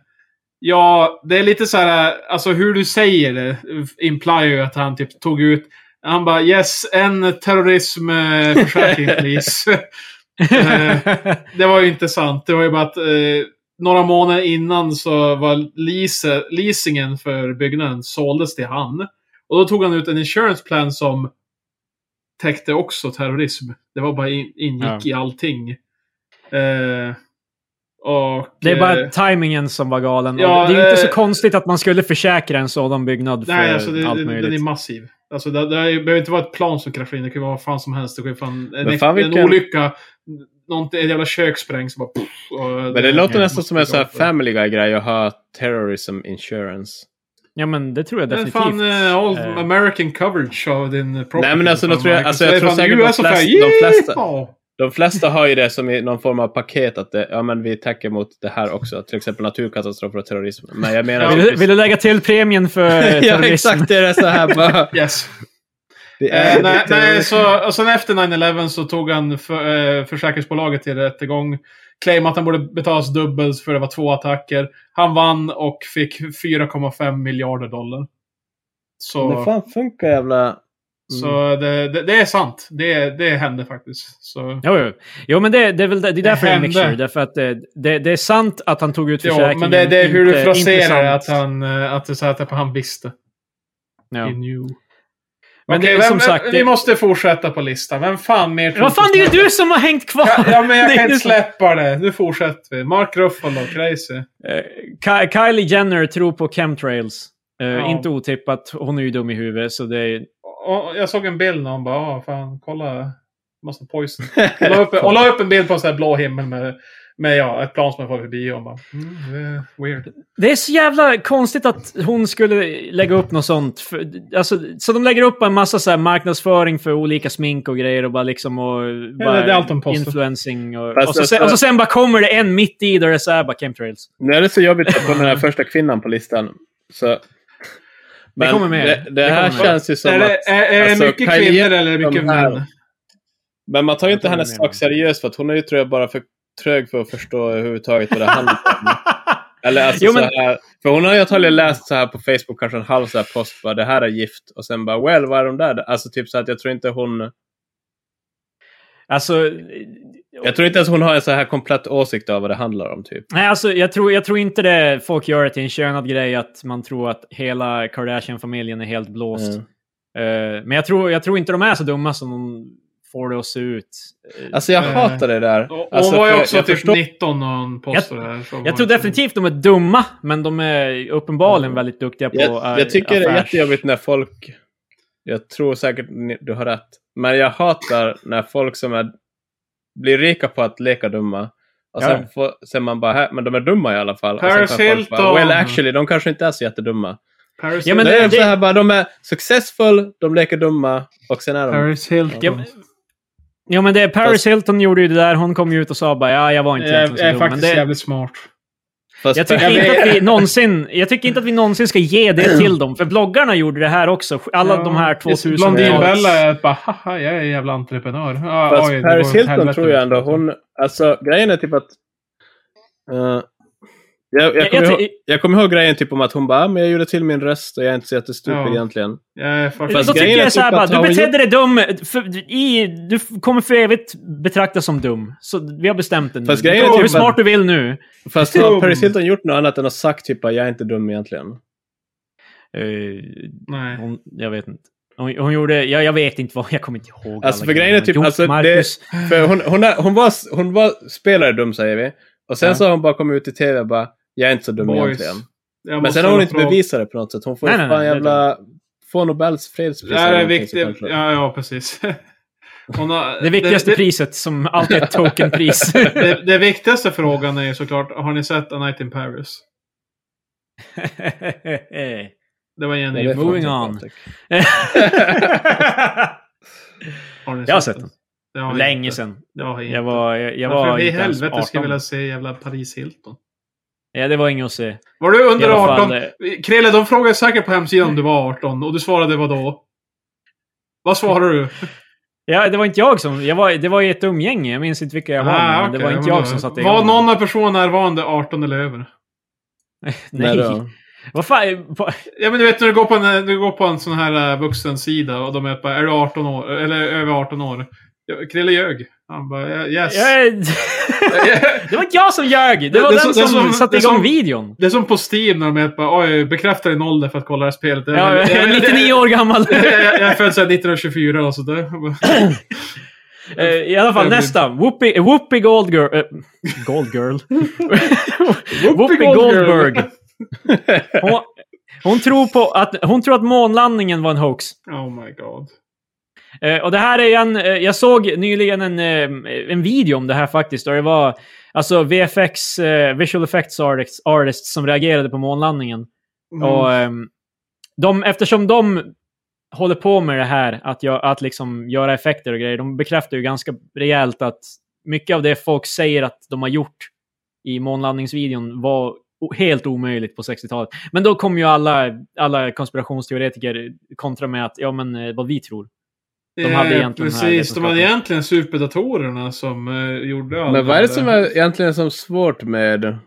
ja, det är lite så här, alltså hur du säger det implier ju att han typ tog ut Han bara yes, en [laughs] terrorismförsäkring please. Eh, det var ju inte sant. Det var ju bara att eh, några månader innan så var lease, leasingen för byggnaden såldes till han. Och då tog han ut en insurance plan som täckte också terrorism. Det var bara in, ingick i allting. Eh, och, Det är eh, bara tajmingen som var galen. Ja, Och det är ju inte så eh, konstigt att man skulle försäkra en sådan byggnad för Nej, alltså det, allt det, den är möjligt. massiv. Alltså det, det är, ju- behöver inte vara ett plan som kraschar in, det kan ju vara vad fan som helst. Det kan ju fan, en, Men fan, en vilken- olycka, någonting, ett jävla kök sprängs och bara... Puff, och Men det låter nästan som en Mm. måste sån här gå för. family guy-grej att ha terrorism insurance. ja, men det tror jag Men definitivt. fan, eh, all Eh, American coverage av din eh, property. Nej, men alltså, Fan, då tror jag- Marcus. alltså, Det jag är tror fan säkert USA de flest- så här, de flesta- "Yeehaw!" De flesta har ju det som i någon form av paket att det, ja, men vi täcker mot det här också. Till exempel naturkatastrofer och terrorism. Men jag menar... vill, du- vill du lägga till premien [laughs] för [laughs] eh, ja, terrorism? exakt. Det är så här bara. [laughs] Yes. Det Eh, är nej, lite- nej, så, och sen efter 9-11 så tog han för, eh, försäkringsbolaget till rättegång. Claim att han borde betalas dubbelt för det var två attacker. Han vann och fick 4,5 miljarder dollar. Så, Men fan funkar jävla... så det, det, det är sant. Det, det hände faktiskt. Så, Jo, jo. jo men det, det är väl det, det är därför det är en hände. mixture. Därför att det, det, det är sant att han tog ut ja, försäkringen. men det, det är hur du inte- inte fraserar sant. att han, eh, att, det, så här, att han visste. Ja. He knew. Men Okej, det är vem, som sagt... vi det, måste fortsätta på listan. Vem fan mer tror vad fan, det är ju du som har hängt kvar! Ja, ja, men jag [laughs] Det är kan du inte som- släppa det. Nu fortsätter vi. Mark Ruffalo, crazy. Eh, Ki- Kylie Jenner tror på chemtrails. Eh, Ja. Inte otippat. Hon är ju dum i huvudet, så det är... Och jag såg en bild när hon bara, ah, fan, kolla. Massa [laughs] poison. Hon la upp, hon la upp en bild på en sån här blå himmel med, med ja, ett plan som har farit förbi. Och hon bara, mm, det är weird. Det är så jävla konstigt att hon skulle lägga upp något sånt. För, alltså, så de lägger upp en massa så här marknadsföring för olika smink och grejer och bara liksom och... Bara det är allt de postar. Influencing och, Fast och, så, alltså- sen- och så sen bara kommer det en mitt i där det är så här bara chemtrails. Nu är det så jobbigt att få den här första kvinnan på listan. Så... Men kommer med. Det, det Det här kommer med. känns ju som är, att... det, är, är det alltså, mycket Kylie kvinnor eller är det mycket de här- män? Men man tar ju Jag inte tror hennes du menar. sak seriöst för att hon är ju tror jag bara för trög för att förstå överhuvudtaget vad det handlar [laughs] om. Eller alltså Jo, men- så här, för hon har ju antagligen läst så här på Facebook kanske en halv så här post bara det här är gift och sen bara well vad är de där? Alltså typ så att jag tror inte hon Alltså... jag tror inte ens hon har en så här komplett åsikt av vad det handlar om typ. Nej, alltså jag tror, jag tror inte det folk gör det till en könad grej att man tror att hela Kardashian-familjen är helt blåst. Mm. Eh, men jag tror, jag tror inte de är så dumma som de får det att se ut. Eh, Alltså jag Eh, hatar det där. Och, och Alltså, hon var ju för också jag typ förstår- 19 när hon postade det här. så var jag tror det- definitivt de är dumma, men de är uppenbarligen väldigt duktiga på Jag, eh, jag tycker det är affärs- jättejobbigt när folk... Jag tror säkert ni, du har rätt. Men jag hatar när folk som är, blir rika på att leka dumma. Och Ja. sen, får, sen man bara, "Hä, men de är dumma i alla fall. och Paris sen kan folk Hilton. bara, well actually, de kanske inte är så jättedumma. Paris, Ja, men det det- är det- så här bara, de är successful, de leker dumma och sen är de... Paris Ja, Hilton. men- Ja, men det, Paris Fast- Hilton gjorde ju det där. Hon kom ju ut och sa bara ja, jag var inte Jag egentligen jag är så dum. Men faktiskt det, jävligt smart. Fast jag, tycker Paris- inte att vi någonsin, jag tycker inte att vi någonsin ska ge det till dem, för bloggarna gjorde det här också. Alla de här 2000 Blondinbella är bara, haha, jag är en jävla entreprenör. Ah, Fast oj, det går Paris åt Hilton helvete tror jag med ändå, Hilton. hon... Alltså grejen är typ att... eh, jag, jag, Jag- kommer jag ihåg, ty- jag kommer ihåg grejen typ om att hon bara, "Ah, men jag gjorde till min röst och jag är inte så jättestuper Ja. egentligen. Jag är fucking- Fast då tycker grejen är jag så här typ bara, att har du hon betedde dig dum. För, i, du f- kommer för evigt betraktas som dum. Så vi har bestämt det nu. Fast Du grejen får är vara typ hur smart du vill nu. Fast har Dum. Paris Hilton gjort något annat än att sagt typ att jag är inte dum egentligen? Eh, Nej. hon, jag vet inte. Hon, hon gjorde, jag, jag vet inte vad, jag kommer inte ihåg. Alltså, alla för grejen är grejerna. typ- Jo, alltså, det- Marcus, För hon, hon, är, hon, var, hon var spelare dum säger vi. Och sen Ja. så har hon bara kommit ut i tv och bara, jag är inte så dum Boys. egentligen. Jag Men måste sen har hon inte fråga- bevisat det på något sätt. Hon får Nej, ju nej, fan nej, det är jävla... Få Nobels fredspris. Det här eller är någonting viktigt. såklart. Ja, ja, precis. [laughs] Hon har, det viktigaste det, det, priset som alltid är [laughs] ett tokenpris. det, det viktigaste frågan är ju såklart, har ni sett A Night in Paris? Det var Nej, det är Jenny. fan Moving inte on. Patrik. Har ni Jag har sett den. Det har jag Länge inte. sedan. Det har jag inte. Jag var, jag, jag Varför var i inte ens helvete skulle jag 18. vilja se jävla Paris Hilton? Ja, det var inget att se. Var du under I alla 18? fall, eh, Mm. Krille, de frågade säkert på hemsidan om du var 18 och du svarade vad då? Vad svarade du? Ja, det var inte jag som... Jag var, det var i ett umgänge. Jag minns inte vilka jag var med, Ah, men okej, Det var inte men jag då- som satte Var igång. någon av personerna närvarande 18 eller över? Nej. Nej. då. Vad fan, på- Ja men du vet när du går på en, eh, du går på en sån här eh, vuxensida och de är bara, är du 18 år? Eller över 18 år? Ja, Krille ljög. Han bara, "Ja, yes. jag är- [laughs] det var inte jag som ljög! Det var Det är den så- det är som, som- satte det är igång som- videon. [laughs] Det är som på Steam när de är bara, oj, bekräfta din ålder för att kolla det här spelet. Jag, Ja, [laughs] jag är 99 år gammal. Jag, jag, jag är född sedan 1924 och sådär. Eh, I alla fall Jag blir- nästa. Whoopi, Whoopi Gold Girl. eh, Gold Girl. [laughs] [laughs] Whoopi Gold Goldberg. Girl. Hon, hon, tror på att, hon tror att månlandningen var en hoax. Oh my god. Eh, och det här är en, eh, jag såg nyligen en, eh, en video om det här faktiskt. Och det var alltså VFX, eh, visual effects artists, artists som reagerade på månlandningen. Mm. Och, ehm, de, eftersom de håller på med det här, att, gö- att liksom göra effekter och grejer, de bekräftar ju ganska rejält att mycket av det folk säger att de har gjort i månlandningsvideon var o- helt omöjligt på 60-talet. Men då kom ju alla, alla konspirationsteoretiker kontra med att ja, men eh, vad vi tror. de hade Eh, egentligen den här Precis, de hade vetenskapen. egentligen superdatorerna som eh, gjorde allt. Men vad är det som där. är egentligen som svårt med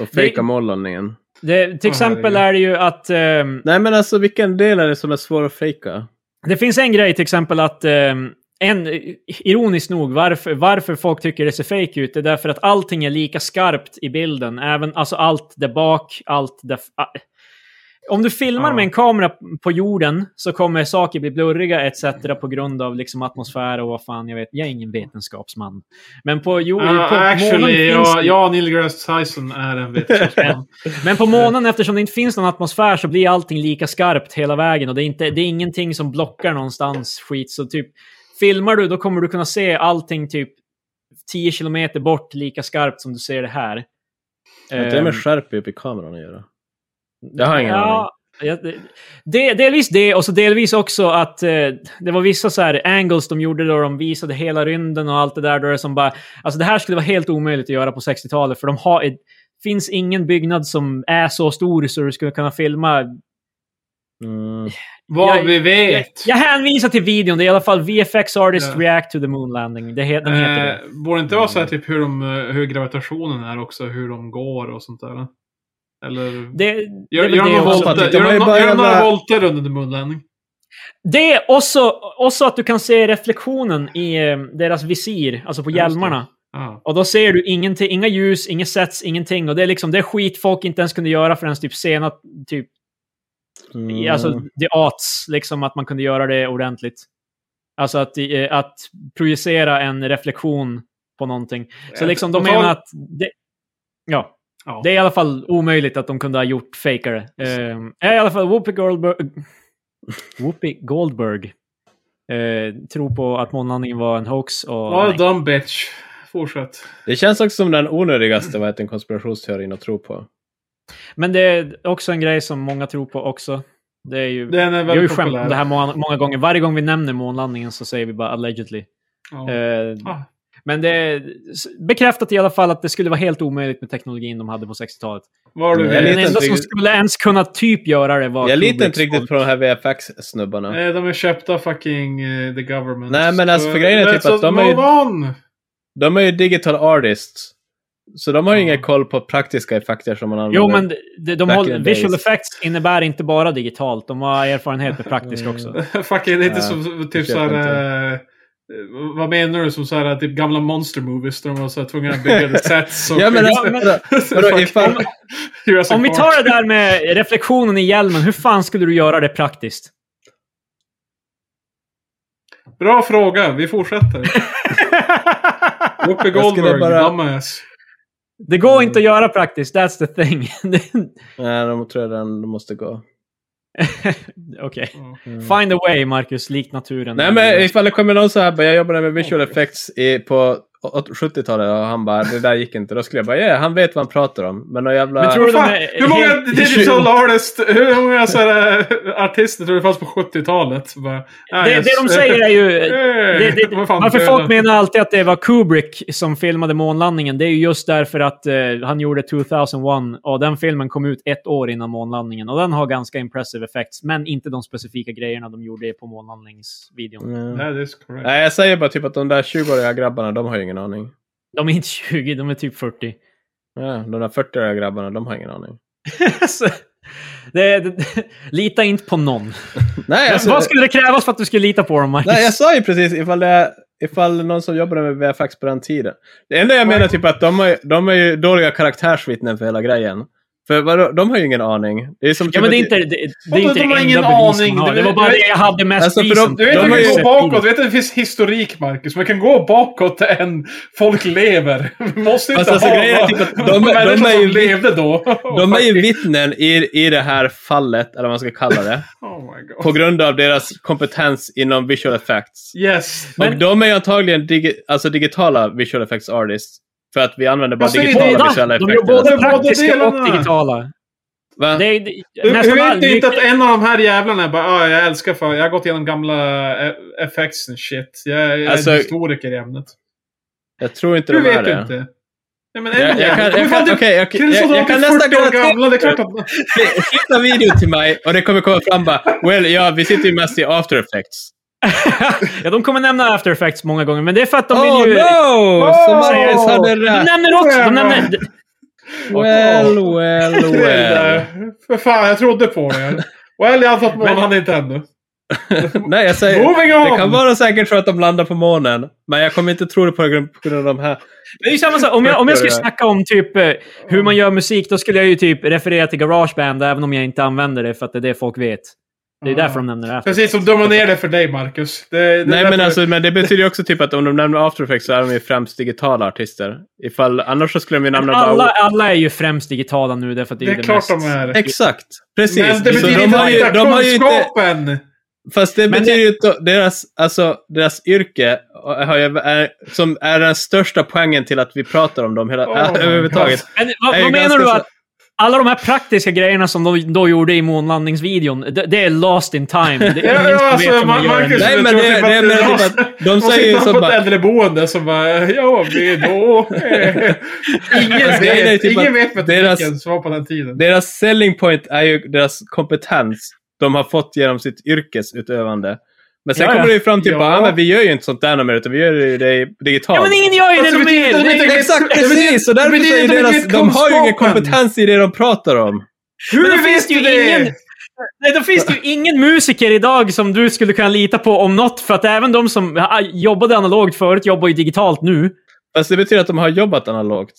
att fejka Det- månlandningen? Det, till Åh, exempel herregud. är det ju att ehm, Nej men alltså vilken del är det som är svår att fejka? Det finns en grej till exempel att, ehm, en, ironiskt nog, varför, varför folk tycker det ser fake ut är därför att allting är lika skarpt i bilden. Även, alltså allt där bak, allt där... f- ah. Om du filmar Ja. med en kamera på jorden så kommer saker bli blurriga etc. på grund av liksom atmosfär och vad fan jag vet. Jag är ingen vetenskapsman. Men på jorden... Ah, på månen actually, finns ja, det- ja, Neil Grass Tyson är en [laughs] vetenskapsman. Men på månen, eftersom det inte finns någon atmosfär, så blir allting lika skarpt hela vägen. Och det är, inte, det är ingenting som blockar någonstans skit. Så typ, filmar du, då kommer du kunna se allting typ 10 kilometer bort lika skarpt som du ser det här. Har inte det Ehm, med skärp upp i kameran att göra? Jag har ingen aning. ja, det, delvis det, och så delvis också att eh, det var vissa så här angles de gjorde då de visade hela rymden och allt det där. Då det är som bara, alltså det här skulle vara helt omöjligt att göra på 60-talet, för de har, det finns ingen byggnad som är så stor så du skulle kunna filma. Mm. Vad Jag- vi Jag, vet. jag hänvisar till videon, det är i alla fall VFX Artist Ja. React to the Moon Landing. Det, he- den heter det. Eh, borde det inte vara så här typ hur, de, eh, hur gravitationen är också, hur de går och sånt där? Eller? Det, gör det, är väl gör de det, några också. voltar? volter- De har gör de ju nå- bara gör de några jävla- volter under en munlandning? det är också, också att du kan se reflektionen i eh, deras visir, alltså på Ja, just det. hjälmarna. Ja. Och då ser du ingenting, inga ljus, inget sets, ingenting. Och det är liksom det är skit folk inte ens kunde göra förrän typ sena, typ, i- Mm. alltså the arts, liksom att man kunde göra det ordentligt. Alltså att, eh, att projicera en reflektion på någonting. Så liksom de På tal- menar att det, ja, Ja. det är i alla fall omöjligt att de kunde ha gjort fejkare. Eh, I alla fall Whoopi Goldberg, Whoopi Goldberg eh, tror på att månlandningen var en hoax. Och, Well nej. done bitch. Fortsätt. Det känns också som den onödigaste vad heter, konspirationsteorin att tro på. Men det är också en grej som många tror på också. Det är ju... Den är Vi har ju väldigt skämt populär. om det här många, många gånger. Varje gång vi nämner månlandningen så säger vi bara allegedly. Ja. Eh, Ah. men det är s- bekräftat i alla fall att det skulle vara helt omöjligt med teknologin de hade på 60-talet. Vad du Jag är vet. Den lite enda som intrigued. skulle ens kunna typ göra det var Jag litar Kubricks inte riktigt på de här VFX-snubbarna. Eh, De är köpta fucking eh, the government. Nej, men alltså, Så- för grejen är men typ så att de är ju- move on! De är ju digital artists. Så de har ju Ja. ingen koll på praktiska effekter som man använder. Jo, men de, de Back håller, in the visual days. effects innebär inte bara digitalt. De har erfarenhet med praktiskt Mm. också. [laughs] fucking lite Ja, som jag typ köper såhär... Eh, vad menar du? Som såhär typ gamla monster movies där de var så här tvungna att [laughs] bygga ett set. som- Ja, men Ja, [laughs] alltså, men- vadå? vadå, ifall, Jurassic Om vi Park. tar det där med reflektionen i hjälmen, hur fan skulle du göra det praktiskt? [laughs] Bra fråga, vi [laughs] fortsätter. Whoopi Jag skulle Goldberg, bara- dumbass. Det går Mm. inte att göra praktiskt, that's the thing. [laughs] Nej, de tror jag den måste gå. Okej. Ja. Mm. Find a way, Marcus, lik naturen. Nej, men ifall det kommer någon så här, bara, jag jobbade med visual effects i, på å- 70-talet och han bara, det där gick inte. Då skulle jag bara, ja, han vet vad han pratar om. Men någon jävla... Men tror du- Fan, de är hur många helt- digital artists, hur många så här, eh, artister tror du fanns på 70-talet? Bara, ah, det, yes. det [laughs] de säger [laughs] är Eh, ju... Det, det, Vad fan, varför döda. folk menar alltid att det var Kubrick som filmade månlandningen, det är ju just därför att eh, han gjorde 2001 och den filmen kom ut ett år innan månlandningen. Och den har ganska impressive effects, men inte de specifika grejerna de gjorde på månlandningsvideon. Mm. That is correct. [laughs] Nej, jag säger bara typ att de där 20-åriga grabbarna, de har ju ingen aning. De är inte 20, de är typ 40. [laughs] Ja, de där 40-åriga grabbarna, de har ingen aning. Så- Alltså, Det, det, lita inte på någon. Nej, alltså, Vad skulle det krävas för att du skulle lita på dem, Marcus? nej, jag sa ju precis ifall det är ifall någon som jobbade med VFX på den tiden. Det enda jag menar är typ att de, har, de är ju dåliga karaktärsvittnen för hela grejen. För vadå, de har ju ingen aning. Det är som Ja, typ men det är att- inte det, det, det, är Vadå, inte de det har enda ingen bevis man aning. har. Du Det var vet- bara det jag hade mest Alltså, för de- recent. Du vet De att har vi ju kan sett gå bakåt, du vet att det finns historik Marcus. Man kan gå bakåt till en folk lever. Vi måste inte Fast alltså, ha grejen är [laughs] typ att de- de är människor som ju- levde då. De är ju vittnen i, i det här fallet, eller vad man ska kalla det, Oh my på god. grund av deras kompetens inom visual effects. Yes. Och de är ju antagligen digi alltså digitala visual effects artists. För att vi använder bara Alltså, Jag säger digitala båda. visuella De gör effekter. både Båda praktiska delarna. och digitala. Va? Det är, det, Hur, nästan hur all- vet du inte att en av de här jävlarna bara ah, jag älskar för jag har gått igenom gamla eh, effects and shit. Jag, jag är Alltså, en historiker i ämnet. Jag tror inte Hur de är vet du det. inte? Ja, men en Jag, jag, jävel. kan, Men jag, fan, kan, du- okay, jag, jag, Chris och jag, kan David är nästan 40 år [laughs] garantera... gamla, det är klart att... Skicka video till mig och det kommer komma fram bara Well, ja, vi sitter ju mest i after effects. ja, de kommer nämna after effects många gånger, men det är för att de oh vill ju... no! Så Marcus Oh! hade De rätt. nämner också... De nämner, Well, well, Det är det well. där. För fan, jag trodde på er. Well, jag antar att månen han är inte ännu. Nej, jag säger... Moving on! Det kan vara säkert så att de landar på månen, men jag kommer inte tro det på grund på grund av de här. Det är ju samma sak. Om jag, om jag skulle Det är det. snacka om typ eh, hur man gör musik, då skulle jag ju typ referera till Garageband, även om jag inte använder det, för att det är det folk vet. Det är Mm. därför de nämner det. After. Precis som dummar ner det för dig, Marcus. Det, det är Nej, därför- men, alltså, men det betyder ju också typ att om de nämner After Effects så är de ju främst digitala artister. Ifall, annars så skulle de ju nämna Alla, bara... alla är ju främst digitala nu, därför att det det är, är ju det klart mest... de är. Exakt! Precis! Men det Så betyder de inte har ju, att de de har ju inte... kunskapen! Fast det Men betyder ju att deras, alltså, deras yrke har ju, är, som är den största poängen till att vi pratar om dem hela, Oh my [laughs] överhuvudtaget. Men, vad, är ju vad menar ganska du så- att alla de här praktiska grejerna som de då gjorde i månlandningsvideon, det, det är lost in time. Det är ingen Ja, som ja, vet alltså, hur man Ma- gör en- Marcus, Nej, jag men tror det- typ att det är mer de- typ att de De säger ju sitter som på ett bara- äldreboende som bara, ja, vi [laughs] då... eh." Ingen Fast grejen är vet, typ ingen att vet vad deras- tekniken som var på den tiden. Deras selling point är ju deras kompetens de har fått genom sitt yrkesutövande. Men sen Ja, ja. kommer det ju fram till Ja. bara, ah, men vi gör ju inte sånt där mer, utan vi gör ju det digitalt. Ja, men ingen gör ju det Alltså, nu men till! de- Det är- de- Exakt, Det betyder- precis! Och det därför betyder säger inte deras, vilket de har ju ingen kunskapen. kompetens i det de pratar om. Men Hur då finns vet det ju du det? ingen... Nej, då finns det ju ingen musiker idag som du skulle kunna lita på om något, för att även de som ah, jobbade analogt förut jobbar ju digitalt nu. Fast det betyder att de har jobbat analogt.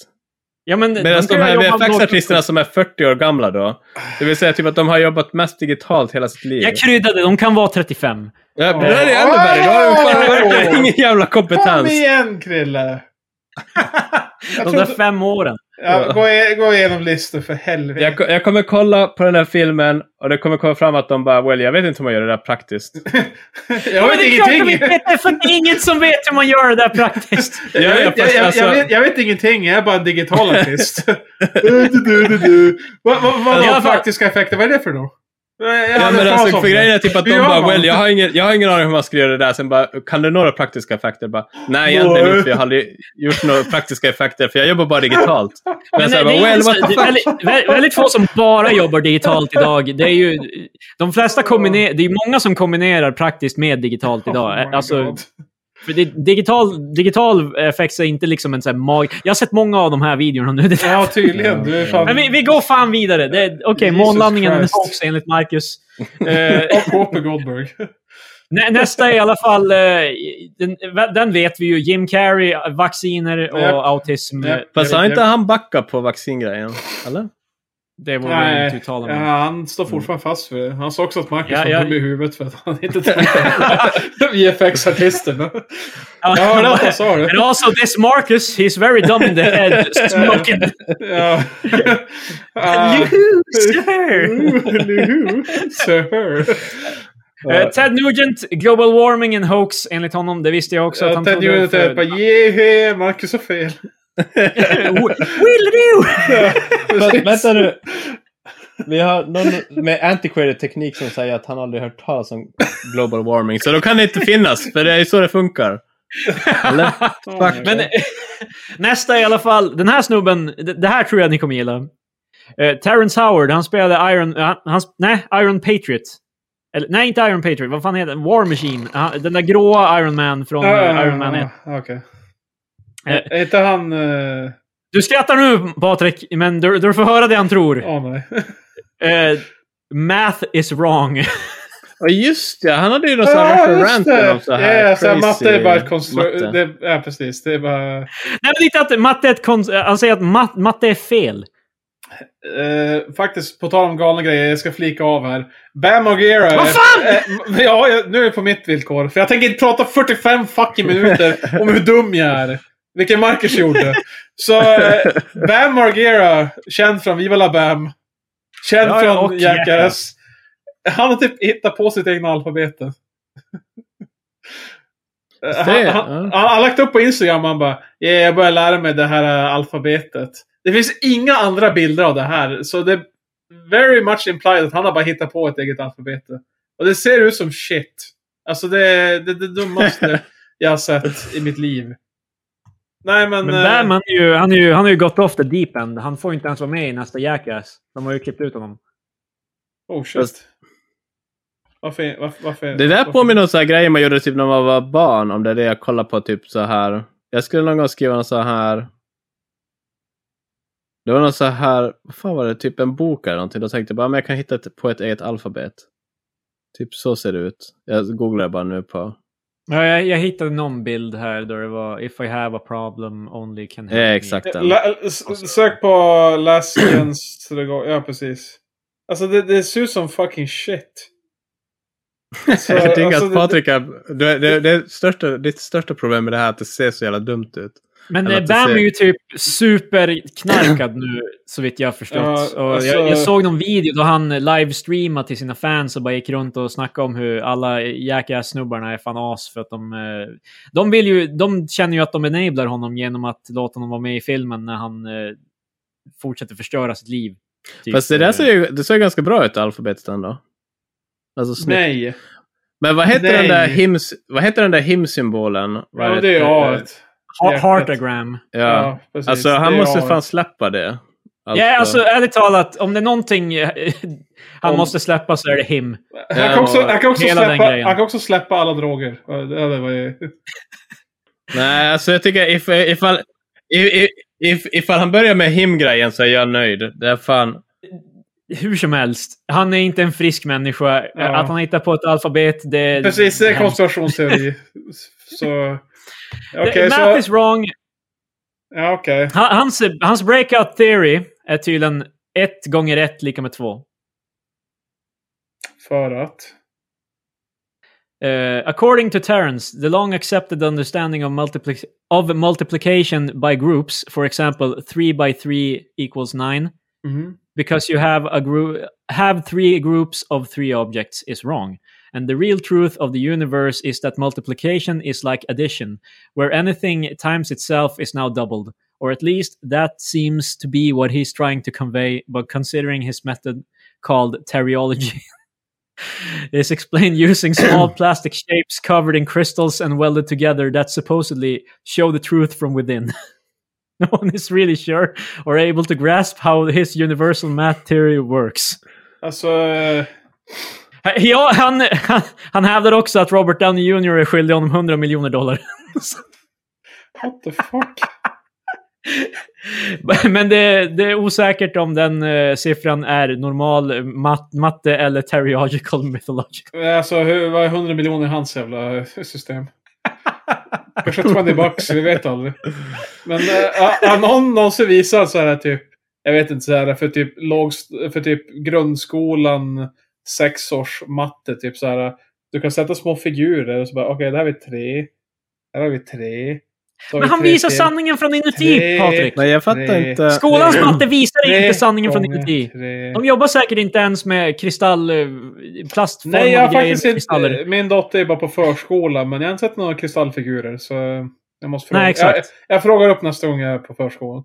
Ja, men Medan de kan här ju jobba analogt VFX-artisterna också. som är 40 år gamla då, det vill säga typ att de har jobbat mest digitalt hela sitt liv. Jag kryddade, de kan vara 35. Ja, men det är ännu värre, då har de fan verkligen ingen jävla Kom kompetens. igen, [laughs] Krille! Jag De trodde- där fem åren. Ja, gå, i- gå igenom listor för helvete. Jag, ko- jag kommer kolla på den här filmen och det kommer komma fram att de bara well, jag vet inte hur man gör det där praktiskt. Jag men vet det är klart de ingenting. inte vet det, för det är ingen som vet hur man gör det där praktiskt. Ja, Jag ja, vet- fast jag- jag- alltså- jag vet- Jag vet ingenting, jag är bara en digital [laughs] artist. Du, du, du, du, du. Vad vad- vad I alla var fall- praktiska effekter? Vad är det för då? alltså- Ja, men alltså, för grejen är typ att de Hur gör bara man? well, jag har, ingen, jag har ingen aning hur man ska göra det där. Sen bara, kan du några praktiska effekter? Bara, Nej, egentligen Nej. inte. för Jag har aldrig gjort några praktiska effekter för jag jobbar bara [laughs] digitalt. Men Men det, så det här, bara, är ju well, inte så- what the det är fuck? väldigt, vä- väldigt få som bara jobbar digitalt idag. Det är ju, de flesta kombiner, det är många som kombinerar praktiskt med digitalt Oh idag. alltså, För det, digital, digital effects är inte liksom en sån här mag... Jag har sett många av de här videorna nu. Det- Ja, tydligen. Du är fan... Men vi, vi går fan vidare. Det- Okej, Jesus månlandningen är en Christ. hoax enligt Marcus. Eh, [laughs] Och Whoopi Goldberg. nä, nästa är i alla fall... eh, den, den vet vi ju. Jim Carrey, vacciner och Japp. autism. Japp. Fast har inte han backat på vaccingrejen? [laughs] Eller? Det vågar jag inte Nej, uttala ja, mig om. han står fortfarande fast för det. Han sa också att Marcus Ja, var ja. dum i huvudet för att han inte [laughs] trodde VFX-artisterna. Jag hörde att [laughs] han sa det. And also this Marcus, he's very dumb in [laughs] the head. Smoking. [laughs] Ja. [laughs] Ah. Juhu, sir. Luhu, [laughs] sir. Eh, Ted Nugent, Global Warming and Hoax enligt honom. Det visste jag också att han Ted trodde. Nugent är för- [laughs] bara jehe, Marcus har [laughs] fel. Oh, Will you? Vä- Vänta [laughs] nu. Vi har någon med antiquated teknik som säger att han aldrig hört talas om global warming. Så då kan det inte finnas, för det är ju så det funkar. Eller? Fuck. Men [laughs] nästa i alla fall. Den här snubben, det det här tror jag ni kommer gilla. Eh, Terrence Howard, han spelade Iron... eh, han, han, nej, Iron Patriot. Eller, nej, inte Iron Patriot. Vad fan heter den? War Machine. Han- den där gråa Iron Man från eh, Iron Man 1. Ah, Okej. Är inte han... eh, Du skrattar nu, Patrik, men du, du får höra det han tror. Åh nej. Eh, math is wrong. [laughs] Ja, just det. Alltså, Han hade ju någon sån här värsta ranten om så här Ja, så här, matte är bara ett matte. konstru... Det, ja, precis. Det är bara... Nej, men inte att matte är ett konst... Han säger att mat, matte är fel. Eh, faktiskt, på tal om galna grejer, jag ska flika av här. Bam Margera... Vad fan! Eh, ja, jag, nu är det på mitt villkor. För jag tänker inte prata 45 fucking minuter om hur dum jag är. Vilken Marcus gjorde. Så eh, Bam Margera, känd från Viva La Bam. Känd Ja, ja, från och Jackass. Han har typ hittat på sitt egna alfabet. Eh, [laughs] Han, Det, han, ja. han har lagt upp på Instagram han bara "Ja, jag börjar lära mig det här eh, alfabetet. Det finns inga andra bilder av det här. Så det är very much implied att han har bara hittat på ett eget alfabet. Och det ser ut som shit. Alltså det är det, det [laughs] dummaste jag har sett i mitt liv. Nej men... Men eh, Bam, han, är ju, han, är ju, han har ju gått off the deep end. Han får inte ens vara med i nästa Jackass. De har ju klippt ut honom. Oh shit. Varför, varför, varför? Det där varför? påminner om så här grejer man gjorde typ när man var barn. Om det är det jag kollar på typ så här. Jag skulle någon gång skriva någon så här. Det var någon så här. Vad fan var det? Typ en bok eller någonting. Då tänkte jag bara men jag kan hitta ett, på ett eget alfabet. Typ så ser det ut. Jag googlar bara nu på. Ja, jag, jag hittade någon bild här där det var “If I have a problem only can help Ja, me." exakt den. La, s- sök på Last Chance to go. Ja, precis. Alltså det, det ser ut som fucking shit. [laughs] Så, Jag tycker alltså, att det- Patrik är, det, det, det största, ditt största problem med det här är att det ser så jävla dumt ut. Men Eller eh, att det Bam ser- är ju typ superknarkad nu, så vitt jag har förstått. Ja, och alltså- jag, jag såg någon video då han livestreamade till sina fans och bara gick runt och snackade om hur alla Jackass-snubbarna är fan as för att de... eh, De, vill ju, de känner ju att de enablar honom genom att låta honom vara med i filmen när han eh, fortsätter förstöra sitt liv. Typ. Fast det eh, där ser ju det ser ganska bra ut, alfabetet ändå. Alltså snyggt. Nej. Men vad heter, den där Nej. hims, vad heter den där himsymbolen? Vad Ja, det är heter- eh, A. Ha- Heartagram. Ja. precis. Alltså Det han är måste A. fan släppa det. Ja, alltså ärligt talat, om det är någonting eh, [laughs] han Om- måste släppa så är det him. Han kan också, han kan också, Hela den släppa, grejen. han kan också släppa alla droger. Ja, Det, det var ju... Nej, alltså jag tycker if, ifall, if, if, ifall han börjar med him-grejen så är jag nöjd. Det är fan... Hur som helst, han är inte en frisk människa. Ja. Att han hittar på ett alfabet, det... Precis, det är hemskt. konspirationsteori. så... Okej, Det- Math så... is wrong. Ja, okej. Ha- Hans, hans breakout theory är tydligen ett gånger ett lika med två. För att... Eh, according to Terence, the long accepted understanding of, multipli- of multiplication by groups, for example, 3 by 3 equals 9, Mhm. because you have a group have three groups of three objects is wrong and the real truth of the universe is that multiplication is like addition where anything times itself is now doubled or at least that seems to be what he's trying to convey but considering his method called teriology [laughs] is explained using small plastic shapes covered in crystals and welded together that supposedly show the truth from within [laughs] no one is really sure or able to grasp how his universal math theory works. Alltså... eh, Ja, han, han, han hävdar också att Robert Downey Jr är skyldig honom 100 miljoner dollar. [laughs] What the fuck? Men det, det är osäkert om den eh, siffran är normal mat, matte eller teriological mythological. Alltså, hur, vad är 100 miljoner i hans jävla system? Kanske 20 bucks, vi vet aldrig. Men äh, har någon någonsin visat så här typ, jag vet inte, så här, för typ, lågst- för typ grundskolan, sexårs matte, typ så här. Du kan sätta små figurer och så bara, okej, där har vi tre. Där har vi tre. så har Men vi han tre visar till. sanningen från inuti, Tre. Patrik. Nej, jag fattar Nej. inte. Skolans matte visar Tre inte sanningen från gånger inuti. tre. De jobbar säkert inte ens med kristall... eh, Plastformade Nej, jag har grejer faktiskt med inte... Min dotter är bara på förskolan, men jag har inte sett några kristallfigurer. Så jag måste fråga. Nej, exakt. Jag, jag frågar upp nästa gång jag är på förskolan.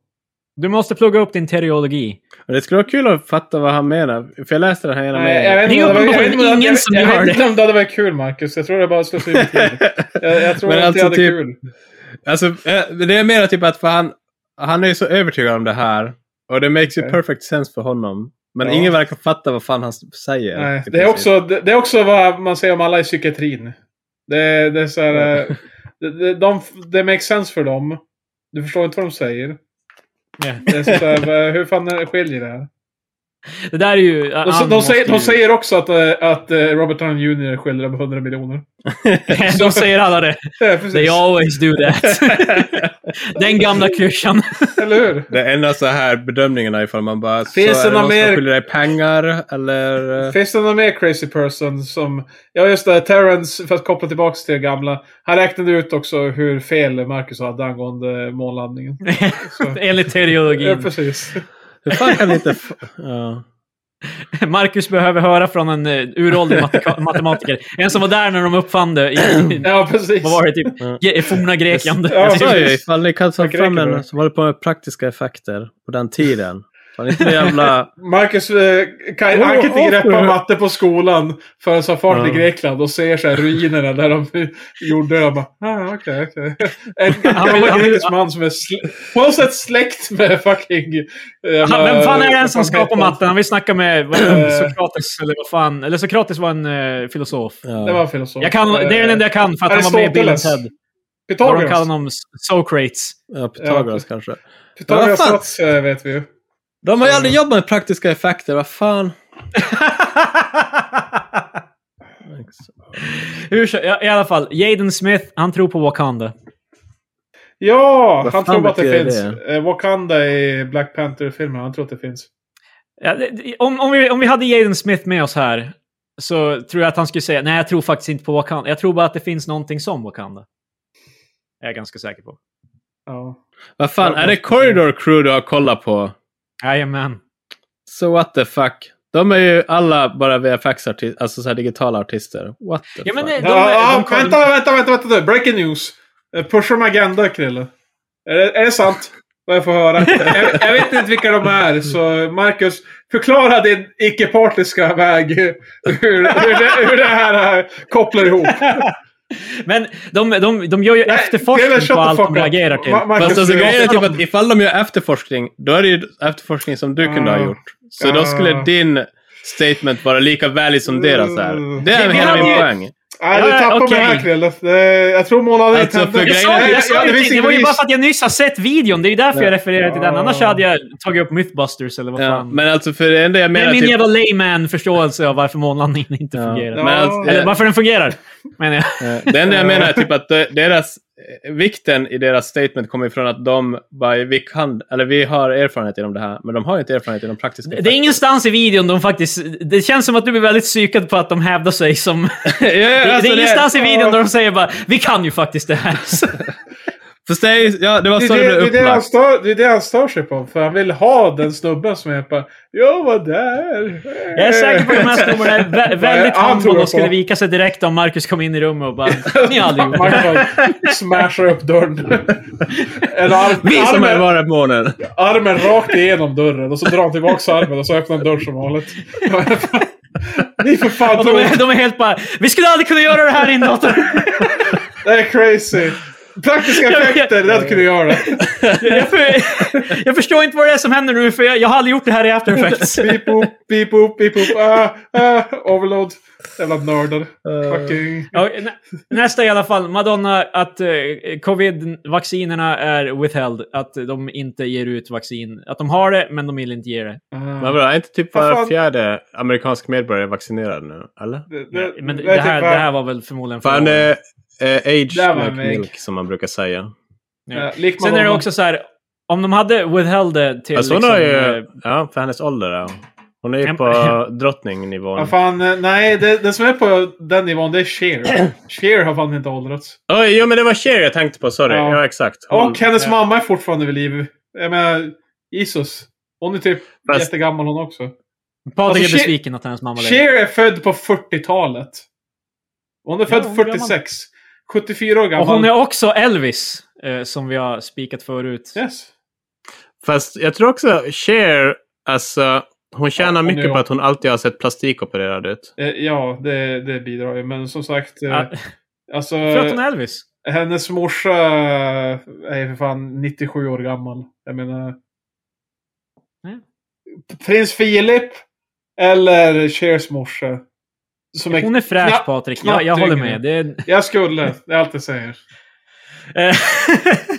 Du måste plugga upp din teriologi. Men Det skulle vara kul att fatta vad han menar. För jag läste den här ena Nej, jag meningen. vet inte om det var- jag vet inte om det- jag Ingen vet- som jag gör vet inte om det hade varit kul, Marcus. Jag tror det bara slösade med tid. Jag, jag tror [laughs] Men inte alltså jag hade typ- kul. Alltså, eh, det är mer typ att för han, han är ju så övertygad om det här. Och det makes ju Okej. perfect sense för honom. Men Ja. ingen verkar fatta vad fan han s- säger. Nej, i det, är princip. också, det, det är också vad man säger om alla i psykiatrin. Det, det är så här... Ja. eh, Det, det, de, det makes sense för dem. Du förstår inte vad de säger. Yeah. Det är så här, eh, hur fan skiljer det här? Det där är ju... De, han de, måste säger, de ju- [laughs] säger också att, eh, att eh, Robert Downey Jr. skyller dem 100 miljoner. [laughs] de säger alla det. Ja, precis. They always do [laughs] that. Den gamla klyschan. Eller hur? Det är enda så här bedömningarna ifall man bara... Finns så det är det någon någon som mer- skyller dig pengar eller... eh, Finns det någon mer crazy person som... Ja, just det. Terrence, för att koppla tillbaka till det gamla. Han räknade ut också hur fel Marcus hade angående månlandningen. Mm. Så- [laughs] Enligt Ja, teologin. precis. Hur fan kan ni [laughs] inte... F- ja. Marcus behöver höra från en eh, uråldrig [laughs] matika- matematiker. En som var där när de uppfann det i, [clears throat] Ja, precis. vad var det, typ Ja. ge- forna Grekland. Typ. Ja, Jag sa ju, precis. ifall ni kan ta Vad greker fram då? en som håller på med praktiska effekter på den tiden. Fan inte det [laughs] jävla... Marcus eh, kan, Oh, han kan inte oh, greppa oh. matte på skolan förrän han far till Ja. Grekland och ser så här ruinerna där de [laughs] gjorde det. Han bara, ah, okej, okej. En [laughs] Han vill- han gammal vill- grekisk man som är sl- på något sätt släkt med fucking... eh, Han, vem fan är den som vad skapar heter han? matten? Han vill snacka med vad är det, [clears throat] Sokrates, eller vad fan. Eller Sokrates var en eh, filosof. Det Ja. var filosof. Jag kan, det är den enda jag kan, för att han var med i Bill Aristoteles. Ted. Vad de kallar Pythagoras. honom, [laughs] Socrates. [laughs] Ja, Pythagoras kanske. Pythagoras Vad fan? sats eh, vet vi ju. De har ju aldrig jobbat med praktiska effekter, vad fan. Hur, så- ja, I alla fall, Jaden Smith, han tror på Wakanda. Ja, han Vad fan tror bara att det betyder finns. det? Eh, Wakanda i Black Panther-filmen, han tror att det finns. Ja, det- det- om, om, vi, om vi hade Jaden Smith med oss här så tror jag att han skulle säga nej, jag tror faktiskt inte på Wakanda. Jag tror bara att det finns någonting som Wakanda. Jag är ganska säker på. Ja. Vad fan, är det Corridor Crew du har kollat på? Jajamän. So what the fuck? De är ju alla bara VFX-artister, alltså så här digitala artister. What the Ja, men fuck? det- De- ja, de- de- vänta, vänta, vänta, vänta nu. Breaking news. Eh, Push om Agenda, Krille. Är det, är det sant? Vad jag får [laughs] höra. jag, jag vet inte vilka de är, så Marcus, förklara din icke-partiska väg. Hur, hur, det, hur det här eh, kopplar ihop. Men de, de, de gör ju Krille, efterforskning shut på the allt fuck de up. reagerar till. Ma- Marcus, Fast alltså, du- grejen är typ att ifall de gör efterforskning, då är det ju efterforskning som du kunde ha Ah. gjort. Så då skulle Ah. din statement vara lika värdig som deras är. Det är Vi- vi hela hade min ju- poäng. Nej, Ja, du tappar okej. mig här, Krille. Det- Jag tror månaden Alltså, för Jag sa, grejen är- jag sa det ju finns till, det ingen var ju bara bevis. för att jag nyss har sett videon. Det är ju därför jag refererar till den. Ja. Annars hade jag tagit upp Mythbusters eller vad Ja, fan. men alltså för det enda jag det är menar... min typ- jävla layman-förståelse av varför månlandningen inte Ja. fungerar. Men alltså, Eller varför den fungerar, menar jag. Eh, Det enda jag menar är typ att de- deras, eh, vikten i deras statement kommer ifrån att de bara, vi kan, eller vi har erfarenhet inom det här, men de har inte erfarenhet inom praktiska Det är ingenstans i videon de faktiskt... Det känns som att du blir väldigt psykad på att de hävdar sig [laughs] som... ja, ja, det alltså, är ingenstans i videon ja. där de säger bara “Vi kan ju faktiskt det här”. Fast det är, ja, det var Det Alltså, så det, är det, blev det, är det, han upplagt. stör, det är det han stör sig på. För han vill ha den snubben som är på Jag var där. Jag är säker på att de här snubbarna [laughs] är vä- väldigt Ja, han tror humble jag och skulle på. vika sig direkt om Marcus kom in i rummet och bara “Ni har aldrig gjort det”. Mark bara smashar upp dörren. Eller arm, Vi som är armen, bara månen. armen rakt igenom dörren och så drar han tillbaka armen och så öppnar han dörren som vanligt. [laughs] Ni för fan Och [laughs] de, är, tror... de är helt bara “Vi skulle aldrig kunna göra det här i en [laughs] dator”. Det är crazy. Praktiska Jag vet. effekter, det hade kunnat göra det. Jag, för, [laughs] jag förstår inte vad det är som händer nu, för jag, jag har aldrig gjort det här i After Effects. Beep boop, beep boop, beep boop. Ah, ah, overload. Jävla nördar. Eh. Fucking... Ja, nä- nästa i alla fall. Madonna, att eh, covid-vaccinerna är withheld. Att de inte ger ut vaccin. Att de har det, men de vill inte ge det. Men Ah. vadå, är inte typ Vad var fan? fjärde amerikansk medborgare vaccinerad nu? Eller? Det, det, Men det, det är typ det, här, det bara- här var väl förmodligen Fan, förra det året. är eh, aged Där var like en väg. milk som man brukar säga. Ja, lik Sen är det Madonna. också så här. Om de hade withheld det till... liksom, eh, Fast Alltså, hon har ju, ja, för hennes ålder liksom, eh, ja. Hon är ju Em- på drottningnivån. Ja, fan, eh, nej, det, det som är på den nivån det är [clears throat] Cher. Cher har fan inte åldrats. Oj, jo men det var Cher jag tänkte på, sorry. Ja. Ja, exakt. Hon- Och hennes mamma är fortfarande vid liv. Jag menar, Jesus. Hon är typ Fast- jättegammal hon också. eh, Patrik Alltså, är Cher- besviken att hennes mamma lever. Cher är född på 40-talet. Hon är född hon är 46. 74 år Och gammal. hon är också Elvis, eh, som vi har spikat förut. Yes. Fast jag tror också Cher, alltså, hon Ja, tjänar hon är mycket ju- på att hon alltid har sett plastikopererad ut. Eh, Ja, det, det bidrar ju. Men som sagt, eh, Ja, alltså, för att Ah, hon är Elvis. hennes morsa är ju för fan 97 år gammal. Jag menar... Mm. Prins Philip eller Chers morsa. Som är... Hon är fräsch Knapp- Patrik, jag, jag knappt håller yngre. med. Det är... Jag skulle, det är allt jag säger. Eh,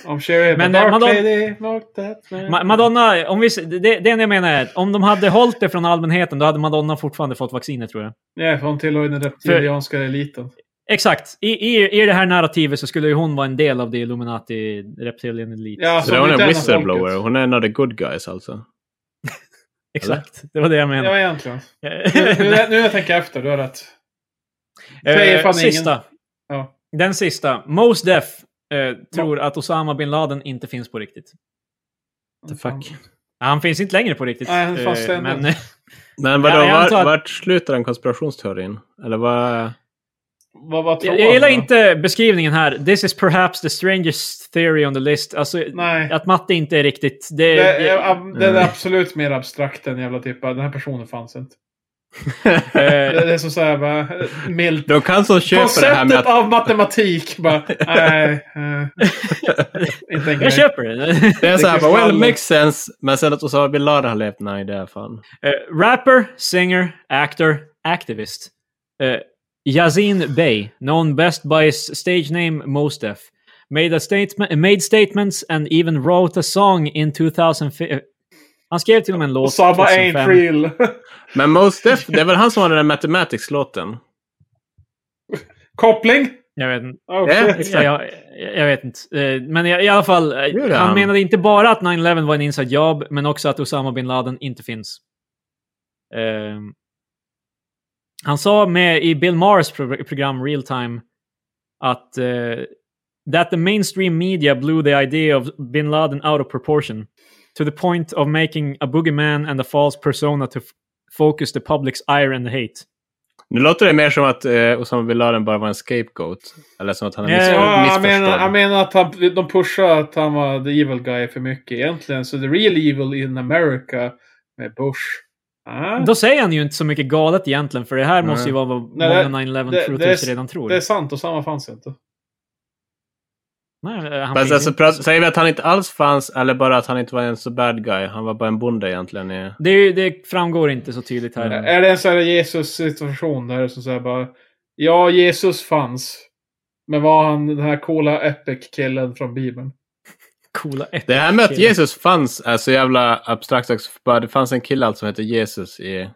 [laughs] Om Sherry Men, Men eh, Dark Madonna- Lady, Mark that man. Ma- Madonna, om vi, s- det, det det jag menar är att om de hade hållit det från allmänheten, då hade Madonna fortfarande fått vaccinet tror jag. Nej, för hon tillhör ju den reptilianska eliten. Exakt. I, i, i det här narrativet så skulle ju hon vara en del av det Illuminati Reptilian Elite. Ja, Så hon inte är en en av folket. whistleblower. Hon är en av the good guys alltså. Exakt. Det var det jag menade. Ja, egentligen. Nu, nu, nu när jag tänker efter, du har rätt. säger [laughs] Eh, fan ingen. sista. Ja. Den sista. Mos Def eh, tror att Osama bin Laden inte finns på riktigt. The fuck. Han finns inte längre på riktigt. Nej, han Eh, fast ändå. men, Men vadå, Ja, jag var, antar att- vart slutar den konspirationsteorin? Eller vad... Vad var tvåan [laughs] jag, jag gillar då? inte beskrivningen här. This is perhaps the strangest theory on the list. Alltså, Nej. att matte inte är riktigt... Det, eh, Det det, är, ab- det är absolut mer abstrakt än jävla typ den här personen fanns inte. eh, Det det är som såhär bara, milt. De kan som köper det här med Konceptet att... av matematik bara, nej. eh, Inte en grej. jag köper det. [laughs] Det är så här, Det kan bara, well, skvallra. makes sense. Men sen att Osama bin Laden har levt, nej det är fan. Eh, rapper, singer, actor, activist. Uh, Yazin Bey, known best by his stage name Mostef, made, a statement, made statements and even wrote a song in 2005. eh, han skrev till och med en låt Osama ain't 2005. real. Men Mos Def, det är väl han som har den där Mathematics-låten? Koppling? Jag vet inte. Oh, Ja, [laughs] shit. Jag, jag, jag vet inte. Eh, men i, i alla fall, eh, Gjorde han han? menade inte bara att 9-11 var en inside job, men också att Osama bin Laden inte finns. Ehm, han sa med i Bill Maher's pro program Real Time att eh, that the mainstream media blew the idea of bin Laden out of proportion to the point of making a boogeyman and a false persona to f- focus the public's ire and hate. Nu låter det mer som att eh, Osama bin Laden bara var en scapegoat. Eller som att han är Ja, miss- Ja, jag missförstådd. menar, jag menar att han, de pushar att han var the evil guy för mycket egentligen. Så the real evil in America med Bush. Ah, Då säger han ju inte så mycket galet egentligen, för det här Nej. måste ju vara vad Nej, många det- 9-11 det- det truthers är- redan tror. det är sant, och samma fanns inte. Nej, eh, han Fast finns alltså, inte. pra- säger vi att han inte alls fanns eller bara att han inte var en så bad guy? Han var bara en bonde egentligen. i- det, är ju- det framgår inte så tydligt här. Är det en sån här Jesus-situation där som säger bara Ja, Jesus fanns. Men var han den här coola epic-killen från Bibeln? Coola ett. Det här med att Killen. Jesus fanns är så jävla abstrakt också. för bara Det fanns en kille alltså som hette Jesus i...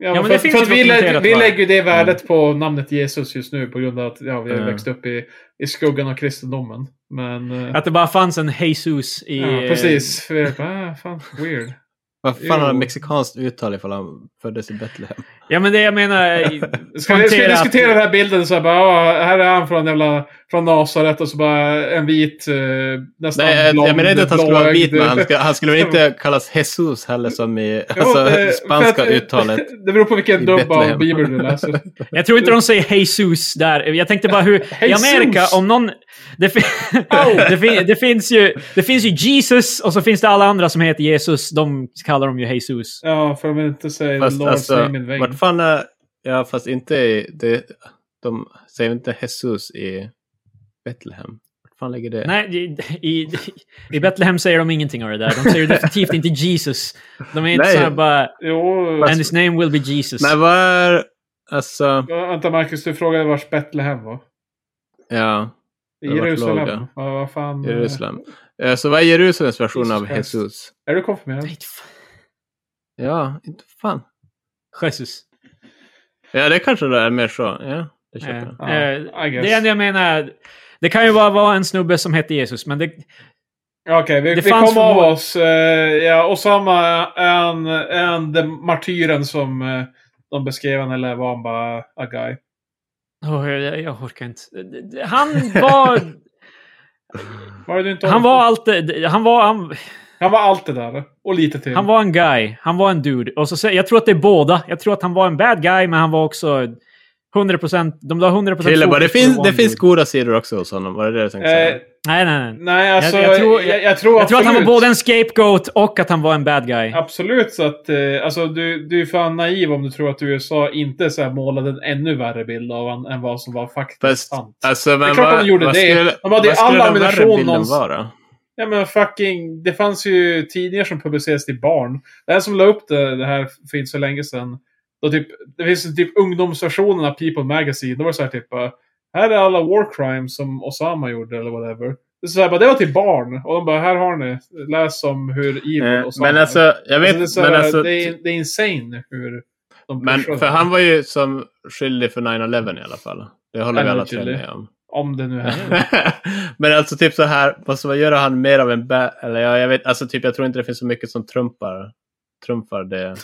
Ja, men för, det att- finns för ju att vi, dokumenterat, lägger, vi va? lägger ju det värdet på namnet Jesus just nu på grund av att ja, vi har Mm. växt upp i, i skuggan av kristendomen. Men... eh, Att det bara fanns en Jesus i... Ja, precis. För vi är bara, ah, fan, weird. Vad fan Jo. har han mexikanskt uttal ifall han föddes i Betlehem? eh, Ja, men det jag menar... är- Ska vi, ska vi Poängtera att- diskutera den här bilden så här bara, ah, här är han från jävla, från Nasaret och så bara en vit, eh, nästan Nej, jag- blond, jag menar inte att han skulle vara vit, blåögd- men han skulle, han skulle väl inte kallas Jesus heller som i [laughs] Jo, alltså, eh, för spanska att- [laughs] uttalet. Det beror på vilken i dubb av Betlehem. Bibeln du [laughs] läser. Jag tror inte de säger Jesus där. Jag tänkte bara hur... I Jesus! Amerika, om någon... Det, fin- [laughs] det, fin- det, finns ju, det finns ju Jesus och så finns det alla andra som heter Jesus. De kallar dem ju Jesus. Ja, för att inte säga Fast Lord's alltså, name in vain. vart fan är... Ja, fast inte i... Det, de säger inte Jesus i Betlehem. Vart fan ligger det? Nej, i, i, i Betlehem säger de ingenting av det där. De säger definitivt inte Jesus. De är inte Nej. såhär bara... Jo, And his name will be Jesus. Men vad är... Alltså... ja, vänta Marcus, du frågade vars Betlehem var. Ja, I Det var Jerusalem? låg, ja. Ja, vad fan. eh, Jerusalem. Eh, Så vad är Jerusalems version Jesus av Christ. Jesus? Är du konfirmerad? Nej, fan. Ja, inte fan. Jesus. Ja, det kanske det är mer så. Ja, det köper Eh, jag. Ja, eh, I guess. det enda jag menar... Det kan ju bara vara en snubbe som hette Jesus, men det... Ja, Okej, vi, Det vi fanns kom av förmod- oss. Eh, ja, Osama är en, är en den martyren som eh, de beskrev han, eller var han bara a guy? Åh, jag, jag orkar inte. Han [laughs] var... Var det du inte han var allt... det- Han var... Han, han var allt det där. Och lite till. han var en guy. Han var en dude. Och så, sä- jag tror att det är båda. Jag tror att han var en bad guy, men han var också 100%... De la 100% Krille bara, det fokus på finns, one det finns dude. goda sidor också hos honom. Var det det du tänkte säga? eh, Nej, nej, nej. nej, alltså. jag- jag Jag, tror- tror, jag, jag tror, Jag tror att han var absolut- både en scapegoat och att han var en bad guy. Absolut så att, eh, alltså du, du är fan naiv om du tror att USA inte så här målade en ännu värre bild av han än vad som var faktiskt Fast, sant. alltså, men är klart vad, de gjorde vad det. Skulle, De hade ju vad skulle alla den värre ammunition bilden någonstans. vara? Ja men fucking, det fanns ju tidningar som publicerades till barn. Den som la upp det, det här för inte så länge sedan. Då typ, det finns typ ungdomsversionen av People Magazine. Då var det så här typ, eh, här är alla war crimes som Osama gjorde eller whatever. Så jag bara, det var till barn. Och de bara, här har ni. Läs om hur evil och sånt. men alltså, jag vet... det, är så här, men alltså, det, är, det är insane hur de men pushar för det. han var ju som skyldig för 9-11 i alla fall. Det håller vi alla tre Allegedly. med om. [laughs] Om det nu händer. men alltså typ så här, måste man göra han mer av en bä... Eller ja, jag vet, alltså typ jag tror inte det finns så mycket som trumpar, trumpar det.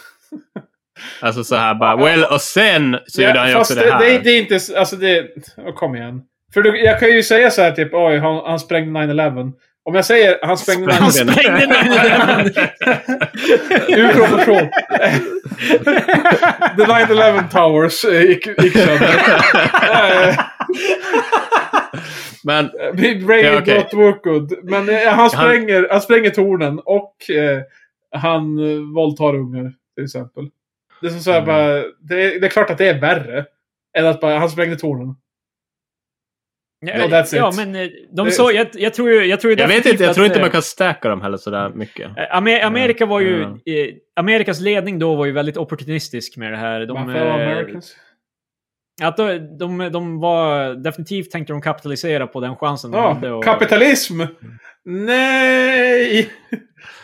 Alltså så här bara, well, och sen så gjorde han ju också fast det här. Det, det är inte... s- Alltså det... åh, Kom igen. För du, jag kan ju säga så här typ, oj, han, han sprängde 9-11. Om jag säger han sprängde 9-11 [laughs] Sprängde. Han sprängde 9-11! [laughs] ur proportion. The 9-11 Towers eh, gick, gick sönder. Eh, Men Big Brain Ja, okej. not work good. Men eh, han spränger, han... spränger tornen och eh, han eh, våldtar ungar till exempel. Det är, som så här, Mm. bara, det, är, det är klart att det är värre. Än att bara, han sprängde tornen. Ja, that's it. ja, men eh, de Det- så, jag, jag tror ju, jag tror ju jag vet definitivt inte, jag tror att, inte eh, man kan stacka dem heller sådär mycket. Eh, Amer- Amerika var ju, Mm. eh, Amerikas ledning då var ju väldigt opportunistisk med det här. My De, fellow eh, Americans. att de, de, de var, definitivt tänkte de kapitalisera på den chansen de Mm, hade. Ja, Och, kapitalism! Nej!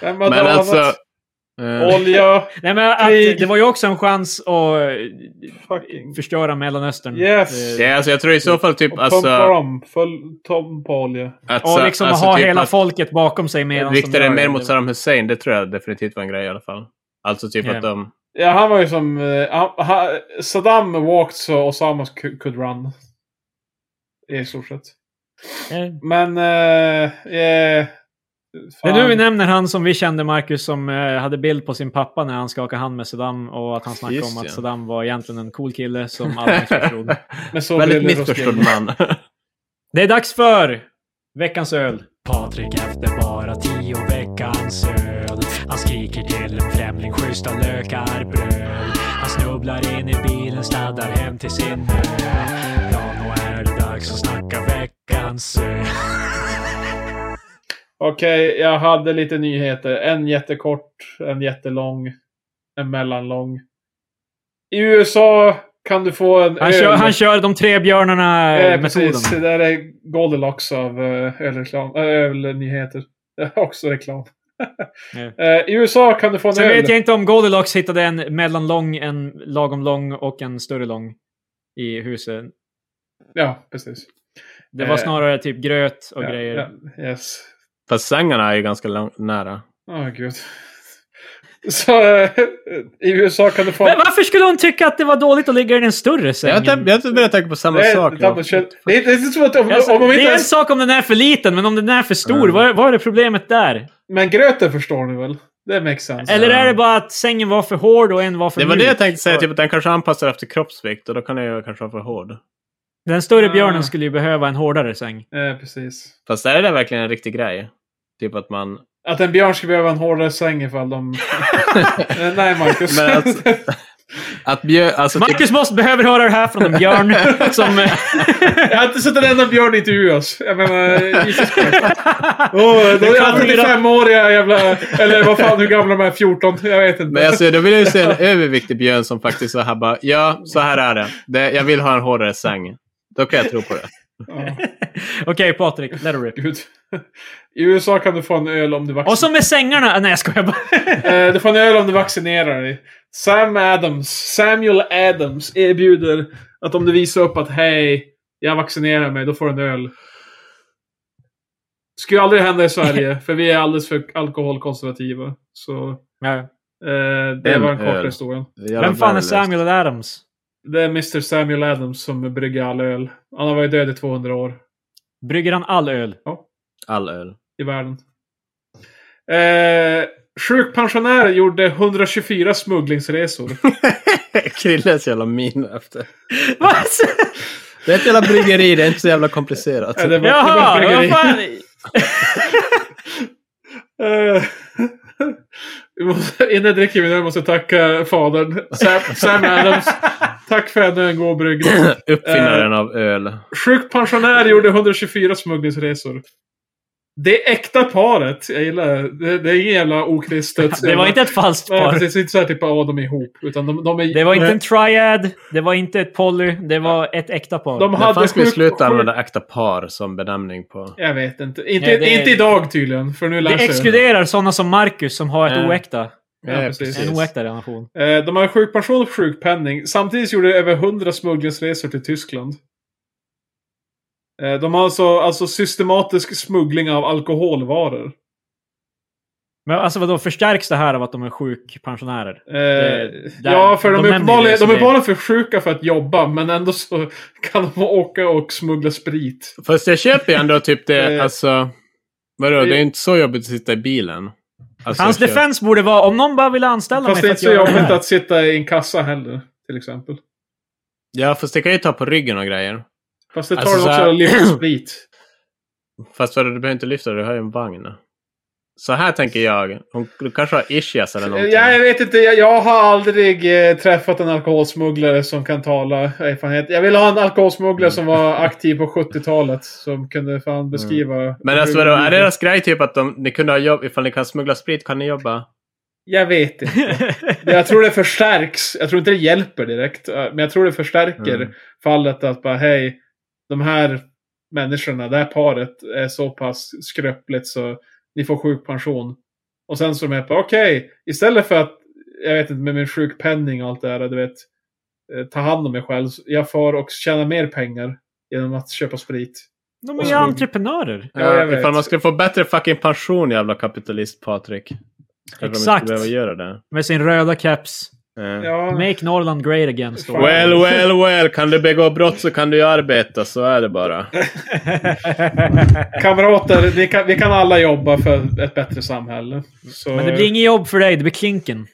Vem har Men danat? alltså... eh, Olja, nej, men att, Krig. det var ju också en chans att eh, fucking... förstöra Mellanöstern. Yes. Eh, Ja, alltså jag tror i så fall typ Och alltså... pumpa dem. Full tom på olja. alltså Och liksom alltså, ha typ hela att folket bakom sig medan Rikta det gör mer mot Saddam Hussein, det tror jag definitivt var en grej i alla fall. Alltså typ Ja. att de... Ja, han var ju som... eh, han- han- Saddam walked så Osama cu- could run. I stort sett. Eh, Men... Eh, eh, Det fan. är nu vi nämner han som vi kände, Marcus, som eh, hade bild på sin pappa när han skakade hand med Saddam och att han snackade Just om att ja. Saddam var egentligen en cool [laughs] kille som alla [laughs] missförstod. Men så Väldigt blev det missförstådd ruskigt. man. [laughs] Det är dags för veckans öl. Patrik efter bara tio veckans öl. Han skriker till en främling schyssta lökar bröd. Han snubblar in i bilen, sladdar hem till sin mö. Ja, nu är det dags att snacka veckans öl. Okej, jag hade lite nyheter. En jättekort, en jättelång, en mellanlång. I USA kan du få en Han öl. kör, han kör de tre eh, björnarna-metoden. precis, det där är Goldilocks av eh, ölreklam, äh, ölnyheter. Det är också reklam. Ja. [laughs] Eh, I USA kan du få en Sen öl. vet jag inte om Goldilocks hittade en mellanlång, en lagom lång och en större lång i huset. Ja, precis. Det var Eh, snarare typ gröt och ja, grejer. Ja, yes. Fast sängarna är ju ganska lång, nära. Åh gud. [laughs] Så eh, i USA kan du få... Men varför skulle hon tycka att det var dåligt att ligga i den större sängen? Jag, jag, jag börjar tänka på samma det, sak. är, double shit. det, är, det är som att om, Alltså, om de det inte är en ens... sak om den är för liten, men om den är för stor, Mm. vad, vad är det problemet där? Men gröten förstår ni väl? Det makes sense. Eller är det bara att sängen var för hård och en var för Det var det mjuk? jag tänkte säga, typ att den kanske anpassar efter kroppsvikt och då kan den ju kanske vara för hård. Den större Ah. björnen skulle ju behöva en hårdare säng. Eh, precis. Fast är det där verkligen en riktig grej? Typ att man... Att en björn ska behöva en hårdare säng ifall [laughs] de... Eh, Nej, Marcus. Men alltså- att bjö, alltså, typ, Marcus måste behöver höra det här från en [laughs] björn som... [laughs] eh, [laughs] jag har inte sett en enda björn intervjuas. Jag menar, [laughs] Jesus Christ. Åh, de Det är kan bli- 75-åriga jävla... Eller vad fan, hur gamla de är? 14? Jag vet inte. men alltså, då vill jag ju se en överviktig björn som faktiskt så här bara, ja, så här är det. det jag vill ha en hårdare säng. Då kan jag tro på det. Ja, Okej, Patrik. Let it rip. gud. I USA kan du få en öl om du Och vaccinerar så med sängarna... Nej, jag skojar bara. [laughs] Eh, Du får en öl om du vaccinerar dig. Sam Adams, Samuel Adams erbjuder att om du visar upp att hej, jag vaccinerar mig, då får du en öl. Skulle aldrig hända i [laughs] Sverige, för vi är alldeles för alkoholkonservativa. Så Ja. eh, det En var den korta öl. historien. Vem fan är Samuel Adams? Det är Mr Samuel Adams som brygger all öl. Han har varit död i 200 år Brygger han [laughs] all öl? All öl. i [laughs] världen. Eh, sjukpensionär gjorde 124 [laughs] smugglingsresor. Eh, Krilles jävla min efter. Vad? Det är ett jävla bryggeri, det är inte så jävla komplicerat. Ja, det var- Jaha! det var Vad bryggeri. fan? Eh, [laughs] vi måste- Innan jag dricker min öl måste jag tacka fadern. Sam, Sam Adams. Tack för ännu en god brygd. [clears throat] Uppfinnaren av öl. Sjukpensionär gjorde 124 smugglingsresor. Det äkta paret, jag gillar det. Det, det är inget jävla okristet. Det var inte ett falskt Nej, par. precis. Inte såhär typ ja, de är ihop. Utan de, de är... Det var inte en triad, det var inte ett poly, det var ett äkta par. De När hade fan ska vi sjuk- sluta sjuk- använda äkta par som benämning på... Jag vet inte. Inte, Nej, det är- inte idag tydligen, för nu lär Det sig. exkluderar sådana som Marcus som har ett Ja. oäkta. Ja, precis. En oäkta relation. Eh, De har sjukpension och sjukpenning. Samtidigt gjorde de över 100 smugglingsresor till Tyskland. Eh, De har alltså, alltså systematisk smuggling av alkoholvaror. Men alltså vadå, förstärks det här av att de är sjukpensionärer? Eh, där- ja, för de, de är nämner det, uppenbarligen, så de är det- uppenbarligen för sjuka för att jobba, men ändå så [laughs] kan de åka och smuggla sprit. Fast jag köper ju ändå typ [laughs] det, Eh, alltså... Vadå, det är inte så jobbigt att sitta i bilen. Alltså, Hans jag köper- defense borde vara om någon bara ville anställa Fast det mig är för inte att så göra det jobbigt här. att sitta i en kassa heller, till exempel. Ja, fast det kan ju ta på ryggen och grejer. Fast det tar Alltså, alltså, så också här- att lyfta sprit. Fast vadå, du behöver inte lyfta, du har ju en vagn. Så här tänker jag. Hon, du kanske har ischias eller någonting. Ja, jag vet inte, jag, jag har aldrig eh, träffat en alkoholsmugglare som kan tala erfarenhet. Jag vill ha en alkoholsmugglare som var Mm. aktiv på 70-talet. Som kunde fan beskriva. Men alltså vadå, är deras grej typ att de, ni kunde ha jobb, ifall ni kan smuggla sprit kan ni jobba? Jag vet inte. Jag tror det förstärks. Jag tror inte det hjälper direkt. eh, Men jag tror det förstärker Mm. fallet att bara hej, de här människorna, det här paret är så pass skröpligt så ni får sjukpension. Och sen så är de på okej, istället för att, jag vet inte, med min sjukpenning och allt det där, du vet, eh, ta hand om mig själv. Jag får och tjäna mer pengar genom att köpa sprit. [laughs] De är ju entreprenörer. Ja, jag vet. ifall man skulle få bättre fucking pension jävla kapitalist Patrik. Kanske de inte Exakt. skulle behöva göra det. Med sin röda caps. Eh. Ja, Make Norrland great again, [laughs] står det. Well, well, well. Kan du begå brott så kan du ju arbeta. Så är det bara. kamrater, vi kan, vi kan alla jobba för ett bättre samhälle. Så, Mm. Men det blir inget jobb för dig, det blir klinken.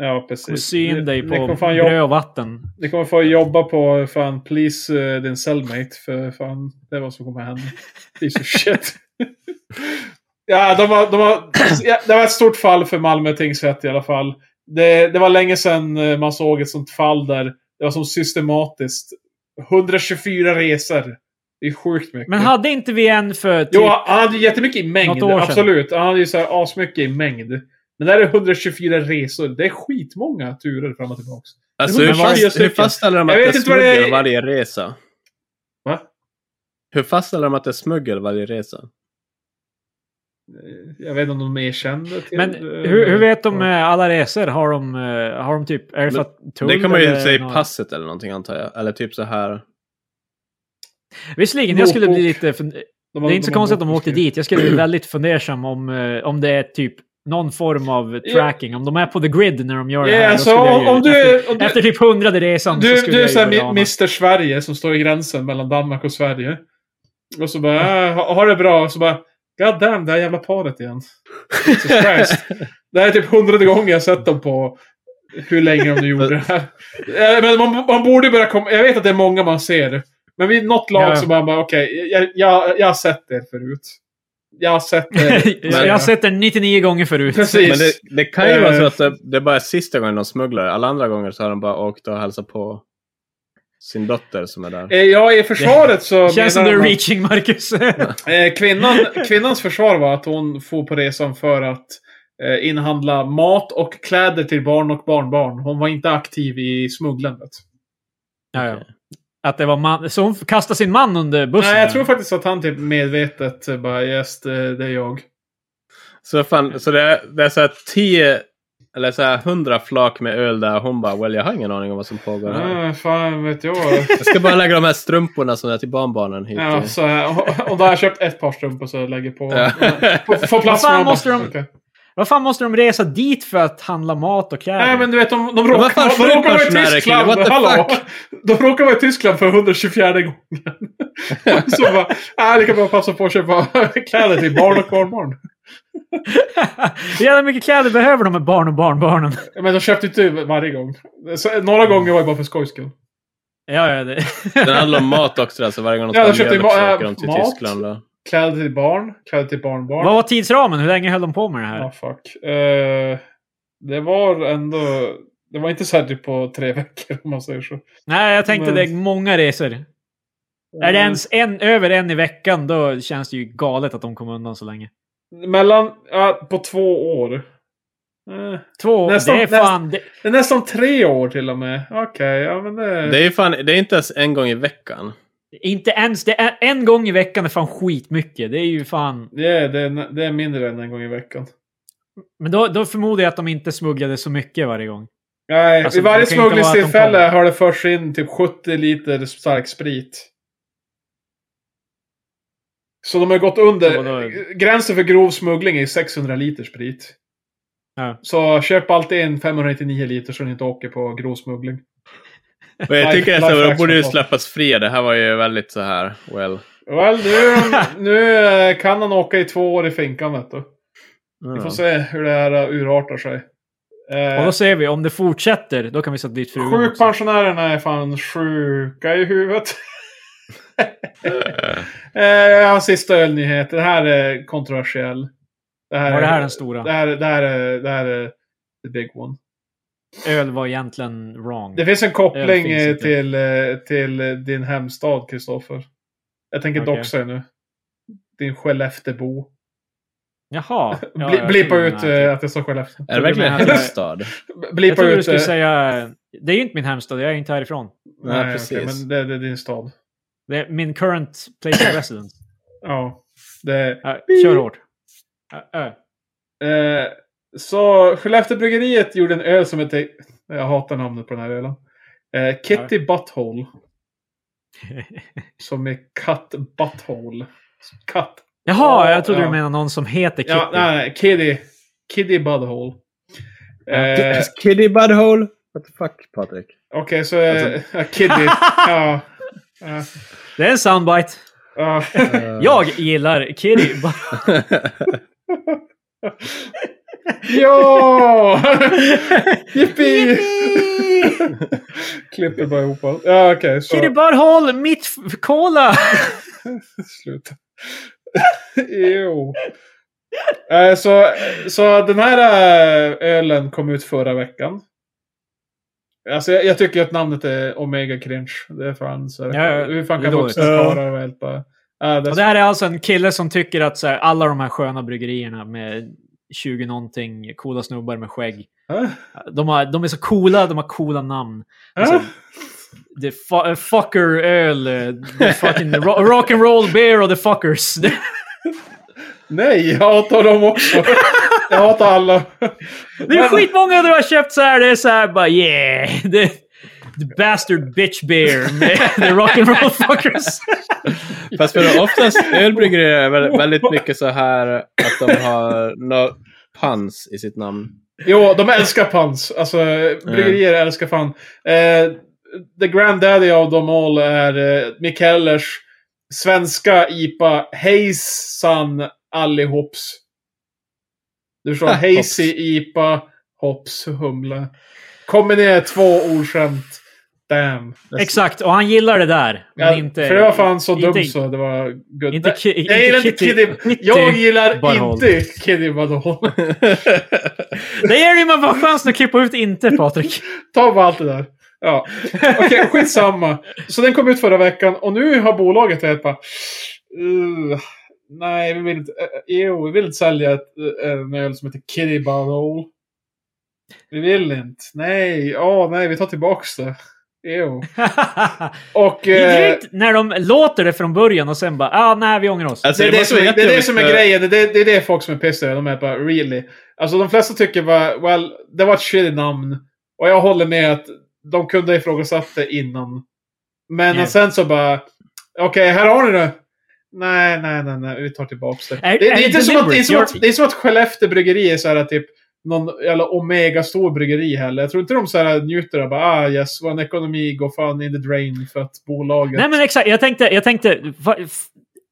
Ja, Och precis. sy in dig Ni på kommer, fan jobba, bröd och vatten. ni kommer få jobba på fan please eh, din cellmate. För fan, det är vad som kommer hända. Piece of shit. [laughs] ja, de har, de har, ja, det var ett stort fall för Malmö tingsrätt i alla fall. Det, det var länge sedan eh, man såg ett sånt fall där det var som systematiskt. 124 resor. Det är sjukt mycket. Men hade inte vi en för typ... Jo, han hade ju jättemycket i mängd. Något år sedan. Absolut. Han hade ju så här asmycket i mängd. Men där är 124 resor. Det är skitmånga turer fram och tillbaka. Alltså, hur, Men vad- fast, hur fastställer de att Jag det är vet inte vad det är- smuggel varje resa? Va? Hur fastställer de att det är smuggel varje resa? Eh, Jag vet inte om de erkände till... men eh, hur, hur vet de ja. eh, alla resor? Har de, eh, har de typ... Är det för Men att tull det kan man ju eller säga i något? passet eller någonting antar jag. Eller typ så här. Visserligen, jag skulle bli Motbok. lite... Fund... De har- Det är inte så har konstigt att de åkte skrivit. dit. Jag skulle bli väldigt fundersam om, eh, om det är typ någon form av Ja. tracking. Om de är på the grid när de Ja, gör det här. då alltså, skulle jag om, ju- om du är... Om du, Efter typ hundrade resan du, så skulle du är jag ju såhär börja ana. Mr Sverige som står i gränsen mellan Danmark och Sverige. Och så bara, äh, ha, ha det bra. Och så bara, God damn, det här jävla paret igen. Jesus [laughs] Christ. Det här är typ hundrade gången jag sett dem på hur länge de [laughs] nu gjorde det här. Eh, Men man, man borde börja komma... Jag vet att det är många man ser. Men vid något lag Ja. så bara, bara okej, jag, jag, jag har sett det förut. Jag har sett [laughs] det. [laughs] jag har sett den 99 gånger förut. Precis. Men det, det kan ju Eh. vara så att det, det är bara är sista gången de smugglar. Alla andra gånger så har de bara åkt och hälsat på sin dotter som är där. Eh, Ja, i försvaret så... Känns som menar du är de att- reaching, Marcus. Eh, kvinnan, kvinnans försvar var att hon for på resan för att eh, inhandla mat och kläder till barn och barnbarn. Hon var inte aktiv i smugglandet. ja, ja. Att det var man... Så hon kastade sin man under bussen? Nej, jag där. tror faktiskt att han typ medvetet eh, bara yes, det, det är jag. Så, fan, så det är, det är så här tio eller så här hundra flak med öl där och hon bara well jag har ingen aning om vad som pågår här. Mm, fan vet jag. [laughs] Jag ska bara lägga de här strumporna som är till barnbarnen hit. ja, i. så, eh, och- och då har jag köpt ett par strumpor så jag lägger på. Ja. [laughs] Få- Få plats Vad fan med dem. måste de- Okej. Vad fan måste de resa dit för att handla mat och kläder? Nej men du vet, de, de, vad fan, råkar, de råkar vara i sjukpensionärer, Tyskland. kille, what the Hallå! fuck? De råkar vara i Tyskland för 124 gången. Så bara, nej det kan bara passa på att köpa [laughs] kläder till barn och barnbarn. Hur jävla mycket kläder behöver de med barn och barnbarnen? Men de köpte inte varje gång. Så, några gånger var det bara för skojs skull. Ja, ja, det... Den handlar om mat också. Alltså varje gång de Ja, ska de köpte ha mjölk ju ma- så äh, åker de till mat. Tyskland. Då. Kläder till barn, kläder till barnbarn. [laughs] Vad var tidsramen? Hur länge höll de på med det här? Ja, fuck. Eh, det var ändå... Det [laughs] var inte så här typ på tre veckor om man säger så. Nej, jag tänkte Men- det är många resor. Är det ens en, över en i veckan, då känns det ju galet att de kom undan så länge. Eh, Mellan, ja, på två år. Eh, Två, Nästan- det är fan... Det, Det är nästan tre år till och med. Okej, ja men det... Det är fan, det är inte ens en gång i veckan. inte ens... Det är, en gång i veckan är fan skitmycket. Det är ju fan... det, är, det, är, det är mindre än en gång i veckan. Men då, då förmodar jag att de inte smugglade så mycket varje gång. Nej, Alltså, vid varje det kan inte vara att de smugglingstillfälle kommer. har det förts in typ 70 liter stark sprit. Så de har gått Ja, under. då Gränsen för grov smuggling är 600 liter sprit. Ja. Så köp alltid en 599 liter så ni inte åker på grov smuggling. Och jag Life- tycker att de lifehacks borde ju på. släppas fria. Det här var ju väldigt så här, well. Well, nu, [laughs] nu eh, kan han åka i två år i finkan vet du. Vi får Ja. se hur det här eh, urartar sig. Eh, Och då ser vi, om det fortsätter, då kan vi sätta dit frugan också. Sjukpensionärerna är fan sjuka i huvudet. [laughs] eh, jag har en sista ölnyhet. Det här är kontroversiell. Det här Var det här är, den stora? det här, det här är, det här är the big one. Öl var egentligen wrong. Det finns en koppling finns eh, inte. till, eh, till eh, din hemstad, Kristoffer. Jag tänker Okej. doxa dig nu. Din Skelleftebo. Jaha. Ja, [laughs] Bli, jag blipa trodde den ut här- eh, att jag sa Skellefteå. Är det verkligen Jag en trodde- hemstad? Jag Blipa trodde du ut... skulle eh, säga... Det är ju inte min hemstad, jag är inte härifrån. Nej, Nej, okej, precis. men det, det är din stad. Det är min current place [laughs] of residence. Ja. Det, Ja, kör hårt. Ja, ja. Eh, så Skelleftebryggeriet gjorde en öl som hette... Jag hatar namnet på den här ölen. Eh, Kitty [laughs] Butthole. Som är Cut Butthole. Cut. Jaha, jag trodde Ja. du menade någon som heter Kitty. Ja, nej, nej. Kitty. Kitty Butthole. Eh, Okej, Kiddy Budhole? What the fuck, [laughs] Patrik? så... Eh, ja, [laughs] Kitty. ja. Ja. Det är en soundbite. ja. [laughs] Jag gillar Kitty. Ja! [laughs] Jippi! [laughs] Klipper bara ihop allt. Ja, okej. så- Kitty Barhol, mitt f- cola! Sluta. [laughs] jo. Eh, Så, så den här eh, ölen kom ut förra veckan. Alltså jag, jag tycker att namnet är Omega Cringe. Det är fan så här, Ja, ja. Hur fan Det är kan dåligt. vuxna karlar vara helt bara... Ja, det är Och det här är alltså en kille som tycker att så här, alla de här sköna bryggerierna med 20 någonting coola snubbar med skägg. så- De, har, de är så coola, de har coola namn. Ah, ah. The fu- fucker-öl, eh, [laughs] the fucking ro- rock'n'roll beer och the fuckers. [laughs] Nej, jag hatar dem också. [laughs] jag hatar alla. Det är skitmånga du har köpt så här. Det är så här bara yeah. [laughs] The, the bastard bitch beer med [laughs] the [laughs] rock'n'roll fuckers. Fast för oftast ölbryggerier är väl- väldigt mycket så här att de har nå pans i sitt namn. Jo, de älskar pans. Alltså, bryggerier älskar fan. Eh, the granddaddy of them all är eh, Mikkellers svenska IPA Hejsan allihops. Du sa Hazy IPA Hops Humle. Kombinerar två ordskämt. Damn. Exakt, och han gillar det där. Men Ja, inte... för det var fan så inte- dumt så det var good. Inte, ki, Nej, jag gillar inte Kitty. Jag gillar Butthole. inte Kitty Badhol. Det ger ju mig bara chansen att klippa ut inte, Patrik. [laughs] Ta bara allt det där. Ja. Okej, skitsamma. Så den kom ut förra veckan och nu har bolaget helt bara... "Ugh, nej, vi vill inte... eh, eh, jo, vi vill inte sälja ett, eh, en öl som heter Kitty Bottle. Vi vill inte. Nej, åh nej, vi tar tillbaks det. Jo. Och... Eh, Vidrigt när de låter det från början och sen bara ah, nej, vi ångrar oss. Alltså, det, är det, måste som, vara är- det är det jättejobbigt som är för- grejen. Det, är- det är det folk som är pissade över. De är bara really. Alltså de flesta tycker bara, well, det var ett shitty namn. Och jag håller med att de kunde ha ifrågasatt det innan. Men Ja. sen så bara, okej, här har ni det. Nej, nej, nej, nej, vi tar tillbaks det. Är- det, är det, är inte det som att, det, är deliberate? som att, You're- det är som att Skellefteå bryggeri är så här typ någon jävla omega-stor bryggeri heller. Jag tror inte de så här njuter av bara, ah yes, vår ekonomi går fan in the drain för att bolaget... Nej men exakt, jag tänkte, jag tänkte va, f-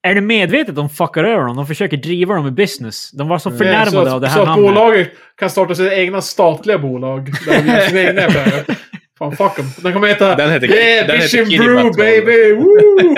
är det medvetet de fuckar över dem? De försöker driva dem i business. De var så förnärmade Eh, så att, av det Så här att namnet. [laughs] bolaget kan starta sina egna statliga bolag. Där de gör sina egna affärer. Fan, fuck em. Den kommer heta... Den heter- yeah, den bitch heter and Kiddy brew Patrol. baby! Woo!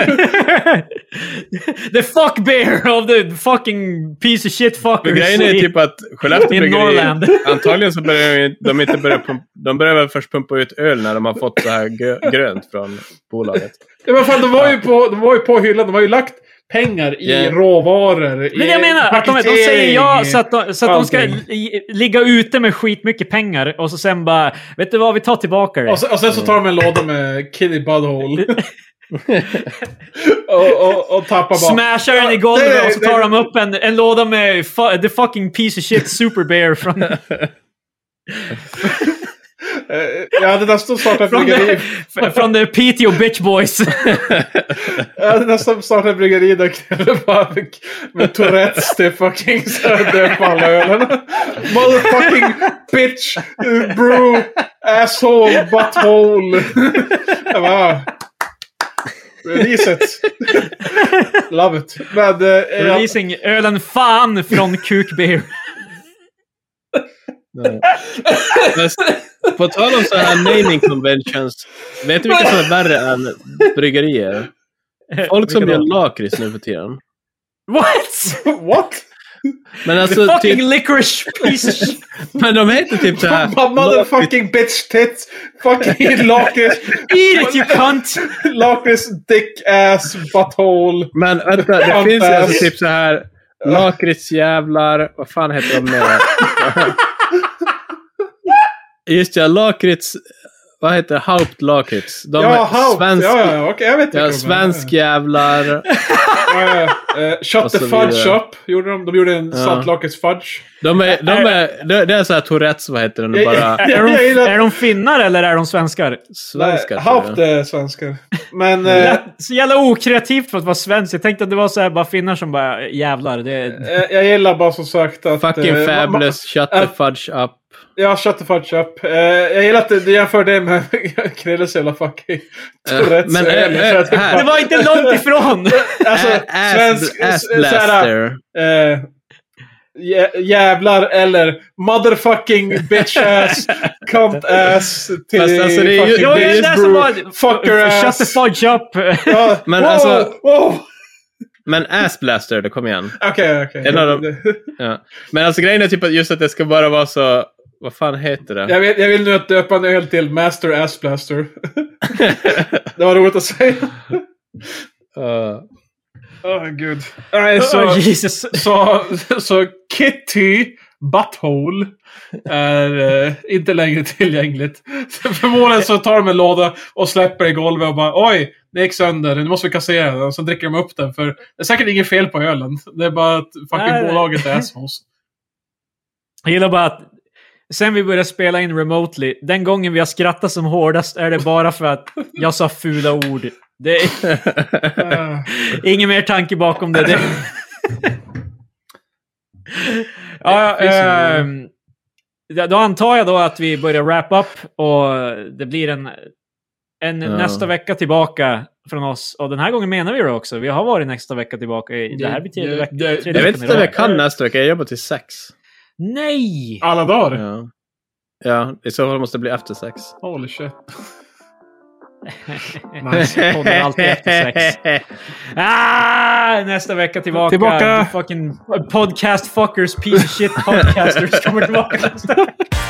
[laughs] the fuck bear of the fucking piece of shit fuckers. Men grejen är i- typ att Skellefteå i bryggeri, Norrland. [laughs] antagligen så börjar de ju- de inte börja pumpa, de börjar väl först pumpa ut öl när de har fått så här gö- grönt från bolaget. Ja, men fan, de var, ju på, de var ju på hyllan. De har ju lagt pengar i Yeah. råvaror. Men jag menar att de, de säger ja så att de, så att de ska allting. li- ligga ute med skitmycket pengar och så sen bara, vet du vad, vi tar tillbaka det. Och, sen, och sen så tar de en låda med Kitty [laughs] Butthole. [laughs] och, och, och tappar bara... Smashar den i det- golvet och så tar det- de upp en, en låda med fu- the fucking piece of shit super [laughs] bear från, Eh, Jag hade nästan startat från, bryggeri. the, från the Piteå bitch boys. Jag hade nästan startat bryggeri där knäller bara med, med Tourettes till fucking söder på alla ölen. Motherfucking bitch, eh, brew, asshole, butthole. Jag bara, "Ah." Release it. Love it. Men, eh, jag, Releasing ölen fan från kuk [laughs] bear. Nej. Men s- på tal om så här naming conventions, vet du vilka som är värre än bryggerier? Folk som Vilka gör då? lakrits nu för tiden. What? what? Men The alltså, fucking typ, licorice piece of shit. men de heter typ så här... Bara Motherfucking bitch tits. Fucking lakrits. Eat it you cunt! Lakrits dick ass butthole. Men vänta, det Fan, finns ju fan. alltså typ så här lakritsjävlar, vad fan heter de [laughs] mer? Just ja, lakrits, vad heter det? Haupt lakrits. De Ja, är haupt. svensk, Ja, ja, ja. Okej, jag vet inte. ja, svensk jävlar. Ja, ja. Eh, Shut Och the så fudge vidare. up. Gjorde de. de gjorde en saltlakrits-fudge. De är, de är, det- det är så här Tourettes, vad heter den? [laughs] Bara Jag- Är jag de, gillar- är de finnar eller är de svenskar? svenskar. Nej, tror jag. Halvt är svenskar. Men... eh, Lätt- Så jävla okreativt för att vara svensk. Jag tänkte att det var så här, bara finnar som bara jävlar. Det, eh, jag gillar bara som sagt att... eh, Fucking ma- eh, ma- fabulous, shut the fudge up. Ja, shut the fudge up. Eh, jag gillar att du du jämför det med [laughs] Krilles jävla fucking Tourettes. men, Jag eh, gillar eh, att det- här. det var inte långt [laughs] ifrån! Alltså, Ass- svensk... eh, ass s- såhär, blaster. eh, jä- Jävlar eller motherfucking bitch [laughs] ass, cunt ass, till Fast alltså, det är ju- fucking Jag är bitch där som bro, var... fucker Shut ass. the fudge up! [laughs] Ja, Men wow, alltså- wow. Men ass blaster, det kom igen. Okej, okej. En av Ja. Men alltså grejen är typ att just att det ska bara vara så... Vad fan heter det? Jag, vill, jag vill nu att döpa en öl till Master Ass Blaster. det var roligt att säga. Eh, [laughs] Åh, gud. Nej, så, Oh, Jesus. så, så Kitty Butthole är eh, inte längre tillgängligt. Förmodligen så tar de en låda och släpper i golvet och bara oj, det gick sönder, nu måste vi kassera den. Och sen dricker de upp den för det är säkert inget fel på ölen. Det är bara att fucking Nej, nej. bolaget är assholes. Jag gillar bara att sen vi började spela in remotely, den gången vi har skrattat som hårdast är det bara för att jag sa fula ord. Det är Eh, ingen mer tanke bakom det. det... ja, Det finns ja, ehm, ja, då antar jag då att vi börjar wrap up och det blir en, en Ja. nästa vecka tillbaka från oss. Och den här gången menar vi det också. Vi har varit nästa vecka tillbaka. I, det här blir tredje Det- veckan. det- tredje jag vet veckan i inte om rad. jag kan nästa vecka. Jag jobbar till sex. Nej! alla dagar. Ja. ja, i så fall måste det bli efter sex. Holy shit. Podden alltid efter [laughs] sex. [laughs] Ah, nästa vecka tillbaka. Tillbaka. You Fucking podcast fuckers, piece of shit podcasters kommer tillbaka nästa vecka.